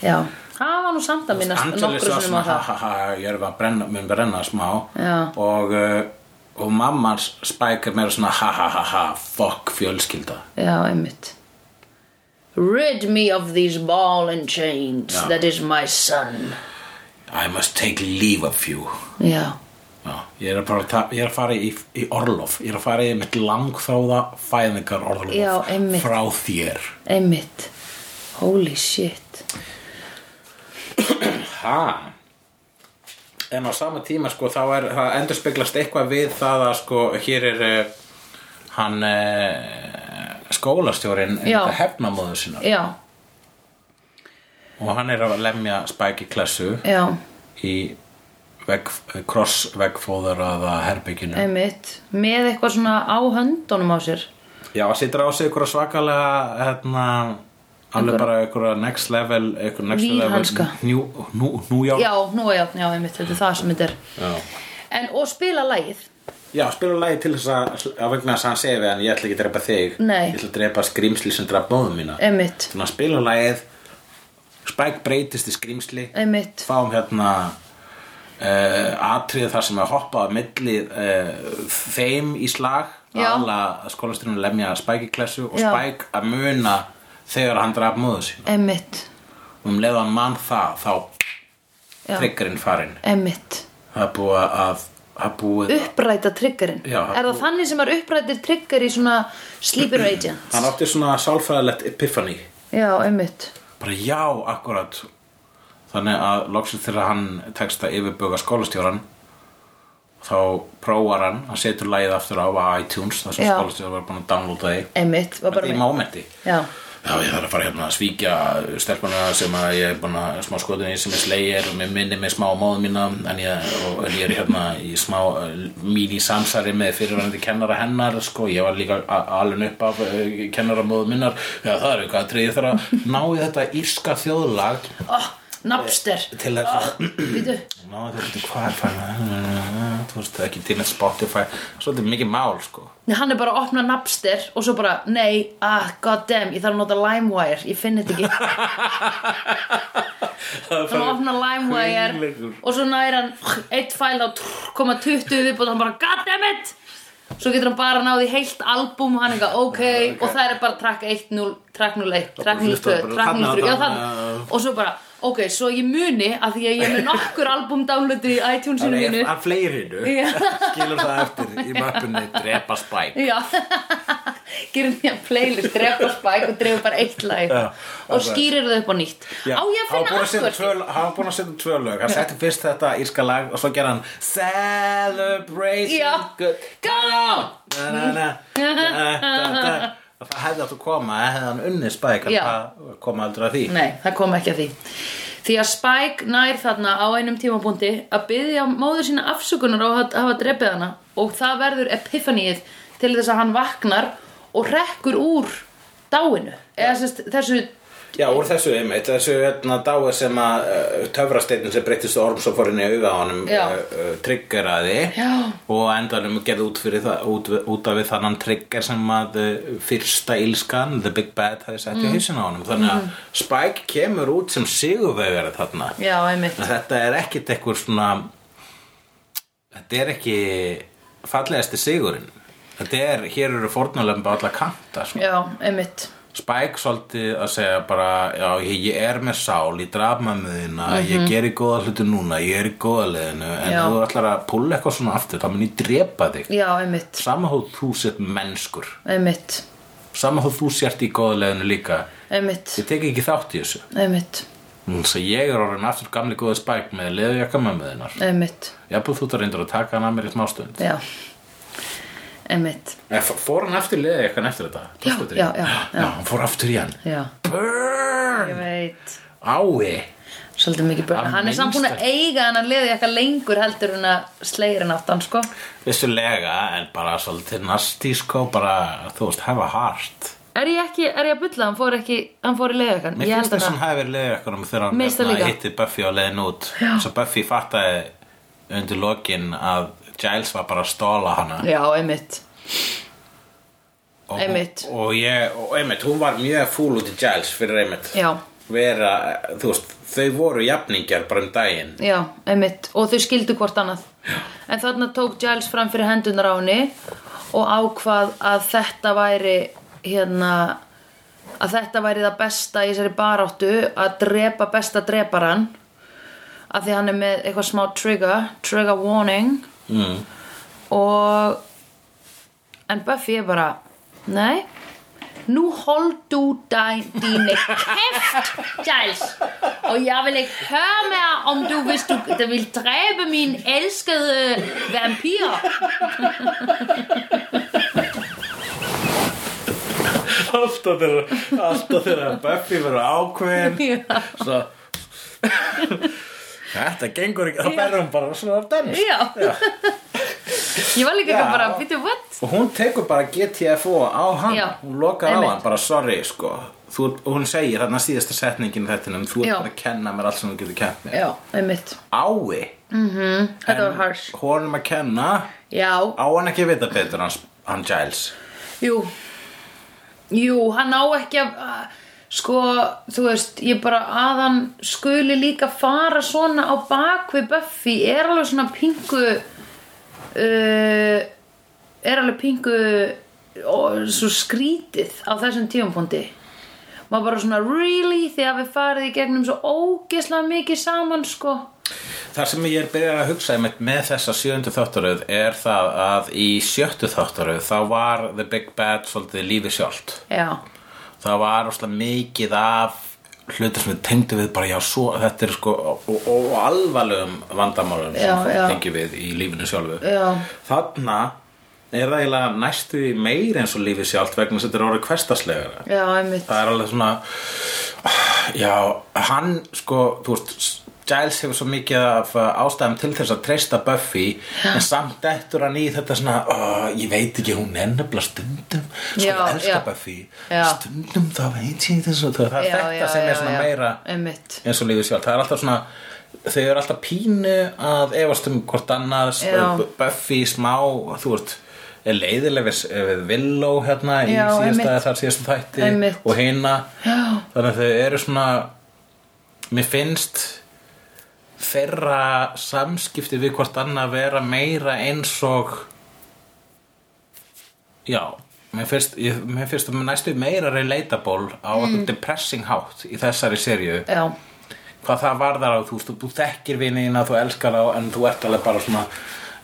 [SPEAKER 2] Já, það var nú samt að minnast
[SPEAKER 1] Angelis
[SPEAKER 2] nokkru
[SPEAKER 1] var svona
[SPEAKER 2] sinum á
[SPEAKER 1] ha
[SPEAKER 2] það
[SPEAKER 1] ha ha jörðin mun brenna, mun brenna smá
[SPEAKER 2] Já.
[SPEAKER 1] og uh, og mammans spæk er meira svona ha ha ha ha fuck fjölskylda
[SPEAKER 2] Já, einmitt Rid me of these ball and chains
[SPEAKER 1] Já.
[SPEAKER 2] That is my son
[SPEAKER 1] I must take leave of you
[SPEAKER 2] Já,
[SPEAKER 1] Já, ég er að, bara, að ta- ég er að fara í, í orlof Ég er að fara í mitt langþáða fæðingar orlof
[SPEAKER 2] Já, einmitt.
[SPEAKER 1] frá þér
[SPEAKER 2] einmitt holy shit
[SPEAKER 1] Ha En á sama tíma sko þá er það endur speglast eitthvað við það að sko hér er uh, hann uh, skólastjórinn
[SPEAKER 2] Já.
[SPEAKER 1] þetta hefnamóðu sinna
[SPEAKER 2] já,
[SPEAKER 1] og hann er að lemja spæki klassu
[SPEAKER 2] já,
[SPEAKER 1] í veg, kross vegfóðaraða herbygginu
[SPEAKER 2] einmitt með eitthvað svona á höndunum á sér
[SPEAKER 1] Já, sittur á sig ykkur svakalega hérna, alveg
[SPEAKER 2] Einhverja-
[SPEAKER 1] bara ykkur next level ykkur next
[SPEAKER 2] Víghanska.
[SPEAKER 1] level njú, nú, nújá
[SPEAKER 2] já, nú já, já, einmitt, þetta er það sem þetta er
[SPEAKER 1] Já.
[SPEAKER 2] en, og spila lagið
[SPEAKER 1] Já, spila lagi til þess að, að vegna þess að hann segi við hann, ég ætla ekki að drepa þig
[SPEAKER 2] Nei. Eh.
[SPEAKER 1] Ég ætla að drepa skrýmsli sem draf móðum mína
[SPEAKER 2] einmitt,
[SPEAKER 1] Þannig að spila lagið Spike breytist í skrýmsli
[SPEAKER 2] einmitt
[SPEAKER 1] Fáum hérna uh, atrið þar sem að hoppa á milli uh, þeim í slag
[SPEAKER 2] Já.
[SPEAKER 1] Alla skólastrinu lemja Spike í klessu og
[SPEAKER 2] Já.
[SPEAKER 1] Spike að muna þegar hann draf móðu sín
[SPEAKER 2] einmitt,
[SPEAKER 1] Og um leiðan mann það, þá
[SPEAKER 2] já,
[SPEAKER 1] triggerinn farinn
[SPEAKER 2] einmitt
[SPEAKER 1] Það er búið að, það er búið
[SPEAKER 2] uppræta triggerinn
[SPEAKER 1] Já,
[SPEAKER 2] er það þannig sem er upprætir trigger í svona sleeper agents
[SPEAKER 1] Hann átti svona sálfræðilegt epiphany
[SPEAKER 2] já, einmitt
[SPEAKER 1] bara já, akkurat þannig að loksins þegar hann tekst að yfirbuga skólastjóran þá prófar hann hann setur lagið aftur á iTunes þar sem
[SPEAKER 2] Já.
[SPEAKER 1] skólastjóran var búin að downloada því
[SPEAKER 2] einmitt, var
[SPEAKER 1] þetta
[SPEAKER 2] bara
[SPEAKER 1] er í momenti
[SPEAKER 2] já,
[SPEAKER 1] já, ég þarf að fara hérna að svíkja stelpana sem að ég er búin að smá skotin í sem er slegir og mér minni mig smá á móðum mína en ég, og, en ég er hérna í smá mín í samsari með fyrirverandi kennara hennar sko, ég var líka a- alveg upp af eh, kennara móðum minnar já, það er eitthvað að ég þarf að ná í þetta írska þjóðlag
[SPEAKER 2] oh, Napster
[SPEAKER 1] til þess að
[SPEAKER 2] Býtu,
[SPEAKER 1] Ná, þú veist, hvað er fæna þú veist, ekki til að Spotify svolítið mikið mál, sko
[SPEAKER 2] Nei, hann er bara að opna Napster og svo bara, nei, ah, god damn, ég þarf að nota LimeWire, ég finn þetta ekki þannig að opna LimeWire
[SPEAKER 1] Hugleikur.
[SPEAKER 2] og svo næri hann eitt fæl á 0,20 viðbútt og hann bara goddammit svo getur hann bara náði heilt album og hann eitthvað ok og það er bara track 1, 0, track 01, track 02,
[SPEAKER 1] hlustar bara
[SPEAKER 2] track
[SPEAKER 1] þarna,
[SPEAKER 2] 03 já,
[SPEAKER 1] þarna.
[SPEAKER 2] þarna. og svo bara ok, svo ég muni að því að ég er með nokkur album downloadur í iTunesinu
[SPEAKER 1] það
[SPEAKER 2] mínu
[SPEAKER 1] er að fleirinu
[SPEAKER 2] Já.
[SPEAKER 1] skilur það eftir í möppunni drepa spæk
[SPEAKER 2] Já, gerir nýja playlist, drepa spæk og drefa bara eitt lag
[SPEAKER 1] Já,
[SPEAKER 2] og
[SPEAKER 1] alveg.
[SPEAKER 2] skýrir það upp á nýtt Á ég að finna aftur?
[SPEAKER 1] hann var búin að setja tvö lög hann setti fyrst þetta írska lag og svo gerði hann celebration
[SPEAKER 2] Já.
[SPEAKER 1] good
[SPEAKER 2] Go on!
[SPEAKER 1] na, na, na, na, na, na. Og það hefði átt að koma hefði hann unnið spæk en
[SPEAKER 2] Já.
[SPEAKER 1] það kom aldrei að því
[SPEAKER 2] Nei, það kom ekki að því Því að Spike nær þarna á einum tímabúndi að byggja móður sína afsökunar á að hafa drepið hana og það verður epifaníið til þess að hann vaknar og rekkur úr dáinu eða sérst, þessu
[SPEAKER 1] Já, úr þessu einmitt, þessu hérna dáið sem að uh, töfrasteitin sem breyttist orm svo fór inn í auga á honum
[SPEAKER 2] Já.
[SPEAKER 1] uh, uh, triggeraði
[SPEAKER 2] Já.
[SPEAKER 1] og á endanum gerði út fyrir það út, út af við þannan trigger sem að uh, fyrsta ílskan, The Big Bad hefði sett
[SPEAKER 2] Mm.
[SPEAKER 1] í hausin á honum, þannig að Spike kemur út sem sigurvegari þarna
[SPEAKER 2] Já, einmitt
[SPEAKER 1] En Þetta er ekkit ekkur svona þetta er ekki fallegasti sigurinn Þetta er, hér eru fórnulömba alla kanta, sko
[SPEAKER 2] Já, einmitt
[SPEAKER 1] Spike svolítið að segja bara já, ég, ég er með sál, ég draf mammu þína ég gerir góða hluti núna, ég er í góða leðinu en
[SPEAKER 2] Mhm. Já.
[SPEAKER 1] já. þú ætlar að púlla eitthvað svona aftur þá mun ég drepa þig
[SPEAKER 2] Já, einmitt
[SPEAKER 1] sama þó þú sért mennskur
[SPEAKER 2] Einmitt
[SPEAKER 1] sama þó þú sért í góða leðinu líka
[SPEAKER 2] Einmitt
[SPEAKER 1] ég tek ekki þátt í þessu
[SPEAKER 2] Einmitt
[SPEAKER 1] þess að ég er orðin aftur gamli góða Spike með leðujakka mammu þínar
[SPEAKER 2] Einmitt
[SPEAKER 1] jafnvel þú þar reyndur að taka hann að mér í smástund
[SPEAKER 2] Já Einmitt
[SPEAKER 1] En f- fór hann aftur leðujakkan eftir þetta?
[SPEAKER 2] Já,
[SPEAKER 1] Tókstu þetta í?
[SPEAKER 2] já, já, já.
[SPEAKER 1] já, hann fór aftur í hann
[SPEAKER 2] Já, ég
[SPEAKER 1] Burn!
[SPEAKER 2] veit
[SPEAKER 1] Ái!
[SPEAKER 2] Svolítið mikið börn
[SPEAKER 1] Að
[SPEAKER 2] Hann er samt búin að eiga hann að liði eitthvað lengur heldur en að slegir hann aftan, sko
[SPEAKER 1] Vissulega, en bara svolítið nasti sko, bara, þú veist, hafa hart
[SPEAKER 2] Er ég ekki, er ég að bulla, hann fór ekki, hann fór í leiðu eitthvað
[SPEAKER 1] Mér finnst þess að hann hafi verið leiðið ekkur um þegar hann
[SPEAKER 2] Mér finnst það
[SPEAKER 1] hérna
[SPEAKER 2] líka.
[SPEAKER 1] hitti Buffy á leiðin út Svo Buffy fattaði undir lokin að Giles var bara að stóla hana
[SPEAKER 2] Já, einmitt,
[SPEAKER 1] og,
[SPEAKER 2] einmitt.
[SPEAKER 1] Og, ég, og einmitt, hún var mjög fúl út í Giles fyrir einmitt
[SPEAKER 2] já,
[SPEAKER 1] Vera, þú veist, þau voru jafningjar bara um daginn
[SPEAKER 2] já, einmitt Og þau skildu hvort annað já. En þarna tók Giles fram fyrir hendunar á henni Og ákvað að þetta væri, hérna Að þetta væri það besta í þessari baráttu Að drepa besta dreparan Af því að hann er með eitthvað smá trigger Trigger warning
[SPEAKER 1] mm.
[SPEAKER 2] og en Buffy er bara nei nú hold du dein, dine kæft Giles og jeg vil ikke høre mere om du hvis du der vil dræbe min elskede øh, vampyr
[SPEAKER 1] Alltaf þeirra Alltaf þeirra Buffy verður ákveðin
[SPEAKER 2] Já.
[SPEAKER 1] Svo Þetta gengur ekki Það berður hún bara svona af dans
[SPEAKER 2] já ég var líka
[SPEAKER 1] Já.
[SPEAKER 2] eitthvað bara býttu what
[SPEAKER 1] Og hún tekur bara GTFO á hann
[SPEAKER 2] Já.
[SPEAKER 1] Hún lokar á
[SPEAKER 2] Einmitt.
[SPEAKER 1] hann Bara sorry sko þú, og Hún segir hann að síðasta setningin þetta Þú
[SPEAKER 2] Já.
[SPEAKER 1] ert bara að kenna mér allt sem þú getur kennt mér
[SPEAKER 2] já, einmitt,
[SPEAKER 1] Ái
[SPEAKER 2] þetta var harsh
[SPEAKER 1] Honum að kenna
[SPEAKER 2] já,
[SPEAKER 1] Á hann ekki að vita betur hans, hann Giles
[SPEAKER 2] Jú Jú, hann á ekki að að- sko, þú veist ég bara að hann skuli líka fara svona á bak við Buffy er alveg svona pingu uh, er alveg pingu og, svo skrítið á þessum tíumpundi maður bara svona really því að við farið í gegnum svo ógeðslega mikið saman sko
[SPEAKER 1] Það sem ég er byrjað að hugsa með, með þessa sjöndu þáttaröð er það að í sjöttu þáttaröð þá var The Big Bad svolítið lífið sjálft.
[SPEAKER 2] já,
[SPEAKER 1] Það var óslega mikið af hlutur sem við tengdu við bara já svo þetta er sko og, og alvarlegum vandamálum
[SPEAKER 2] Já,
[SPEAKER 1] sem fólk
[SPEAKER 2] já.
[SPEAKER 1] tengju við í lífinu sjálfu.
[SPEAKER 2] Já.
[SPEAKER 1] Þarna er það eiginlega næstu því meir eins og lífið sjálft vegna þess að þetta er orðið hverstaslegara
[SPEAKER 2] já, einmitt
[SPEAKER 1] það er alveg svona já, hann sko þú veist, Giles hefur svo mikið af uh, ástæðum til þess að treysta Buffy en samt eftir hann í þetta svona uh, ég veit ekki, hún er nefnilega stundum sko
[SPEAKER 2] Já,
[SPEAKER 1] ég elska
[SPEAKER 2] já.
[SPEAKER 1] Buffy
[SPEAKER 2] Já.
[SPEAKER 1] stundum þá veit ég þess og það það er
[SPEAKER 2] Já,
[SPEAKER 1] þetta
[SPEAKER 2] já,
[SPEAKER 1] sem
[SPEAKER 2] já,
[SPEAKER 1] er svona
[SPEAKER 2] já.
[SPEAKER 1] meira
[SPEAKER 2] einmitt
[SPEAKER 1] eins og lífið sjálf, það er alltaf svona þau eru alltaf pínu að efast um hvort annars
[SPEAKER 2] Já.
[SPEAKER 1] Bu- Buffy smá, þú veist er leiðileg við, við Willow hérna í
[SPEAKER 2] Já,
[SPEAKER 1] síðasta,
[SPEAKER 2] einmitt.
[SPEAKER 1] þar síðasta þætti
[SPEAKER 2] Einmitt.
[SPEAKER 1] og hina
[SPEAKER 2] Já.
[SPEAKER 1] þannig að þau eru svona mér finnst þeirra samskipti við hvort annað vera meira eins og Já, mér finnst, ég, mér finnst um næstu meira relatable á mm. depressing hátt í þessari serju
[SPEAKER 2] já,
[SPEAKER 1] hvað það varðar á, þú veist, þú þekkir vinina þú elskar á, en þú ert alveg bara svona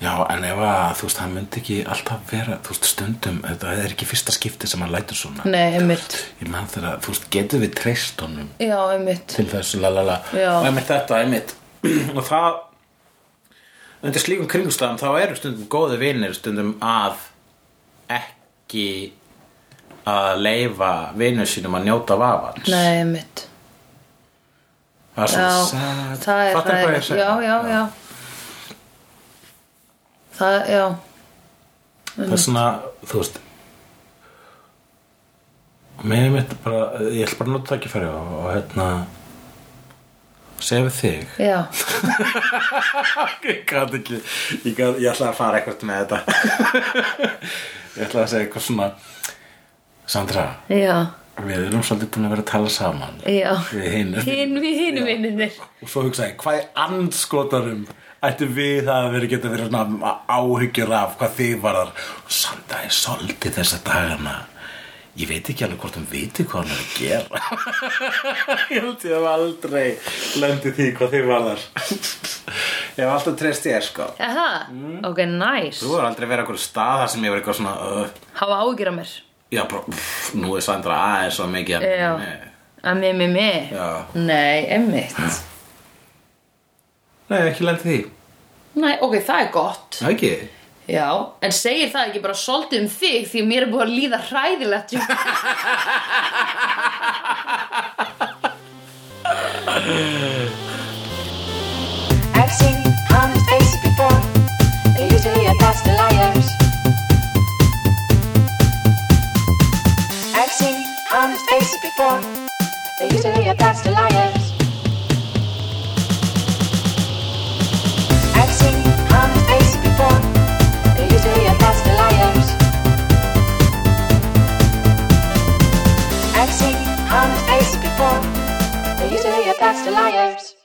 [SPEAKER 1] já, en ef að, þú veist, hann myndi ekki alltaf vera, þú veist, stundum þetta er ekki fyrsta skipti sem hann lætur svona
[SPEAKER 2] nei, einmitt
[SPEAKER 1] ég man þegar að, þú veist, getur við treyst honum
[SPEAKER 2] já, einmitt
[SPEAKER 1] til þessu lalala
[SPEAKER 2] Já.
[SPEAKER 1] og einmitt þetta, einmitt og það undir slíkum kringustæðum þá eru stundum góði vinir stundum að ekki að leifa vinur sínum að njóta vafans
[SPEAKER 2] nei, einmitt
[SPEAKER 1] það er
[SPEAKER 2] Já,
[SPEAKER 1] svo sad
[SPEAKER 2] það er
[SPEAKER 1] Fattar hvað ég
[SPEAKER 2] það er,
[SPEAKER 1] segi?
[SPEAKER 2] já, já, já Það, já
[SPEAKER 1] það er svona, þú veist mér er mitt bara ég ætla bara að nota ekki fyrir og, og hérna segja við þig
[SPEAKER 2] Já,
[SPEAKER 1] ég gæti ekki ég, gat, ég ætlaði að fara eitthvað með þetta ég ætlaði að segja eitthvað svona Sandra,
[SPEAKER 2] já,
[SPEAKER 1] við erum svolítið búin að vera að tala saman
[SPEAKER 2] já
[SPEAKER 1] við hinn
[SPEAKER 2] Hinn við hinn vinninir
[SPEAKER 1] og svo hugsaði, ég, hvað er andskotarum ættu við að vera geta verið svona áhyggjur af hvað þið varðar Sandra er svolítið þessa dagana ég veit ekki alveg hvort hún viti hvað hann er að gera ég held ég hef aldrei lendi því hvað þið varðar ég hef alltaf treyst ég sko
[SPEAKER 2] Aha, ok, nice
[SPEAKER 1] Þú er aldrei verið okkur stað þar sem ég verið eitthvað svona uh,
[SPEAKER 2] Hafa ágjur að mér
[SPEAKER 1] Já, bara, pff, nú er Sandra aðeins og mikið að-
[SPEAKER 2] Já. Að mér, mér, mér
[SPEAKER 1] Já.
[SPEAKER 2] Nei, einmitt
[SPEAKER 1] Nei, ekki lent í því
[SPEAKER 2] Nei, ok, það er gott
[SPEAKER 1] Það ekki
[SPEAKER 2] Já, en segir það ekki bara svolítið um þig því að mér er búið að líða hræðilegt jú.
[SPEAKER 4] I've seen honest faces before. They're usually a pass to liars. I've seen honest faces before. They're usually a pass to liars. I've seen honest faces before. They're usually a pass to liars. I've seen honest faces before. They're usually a pass to liars.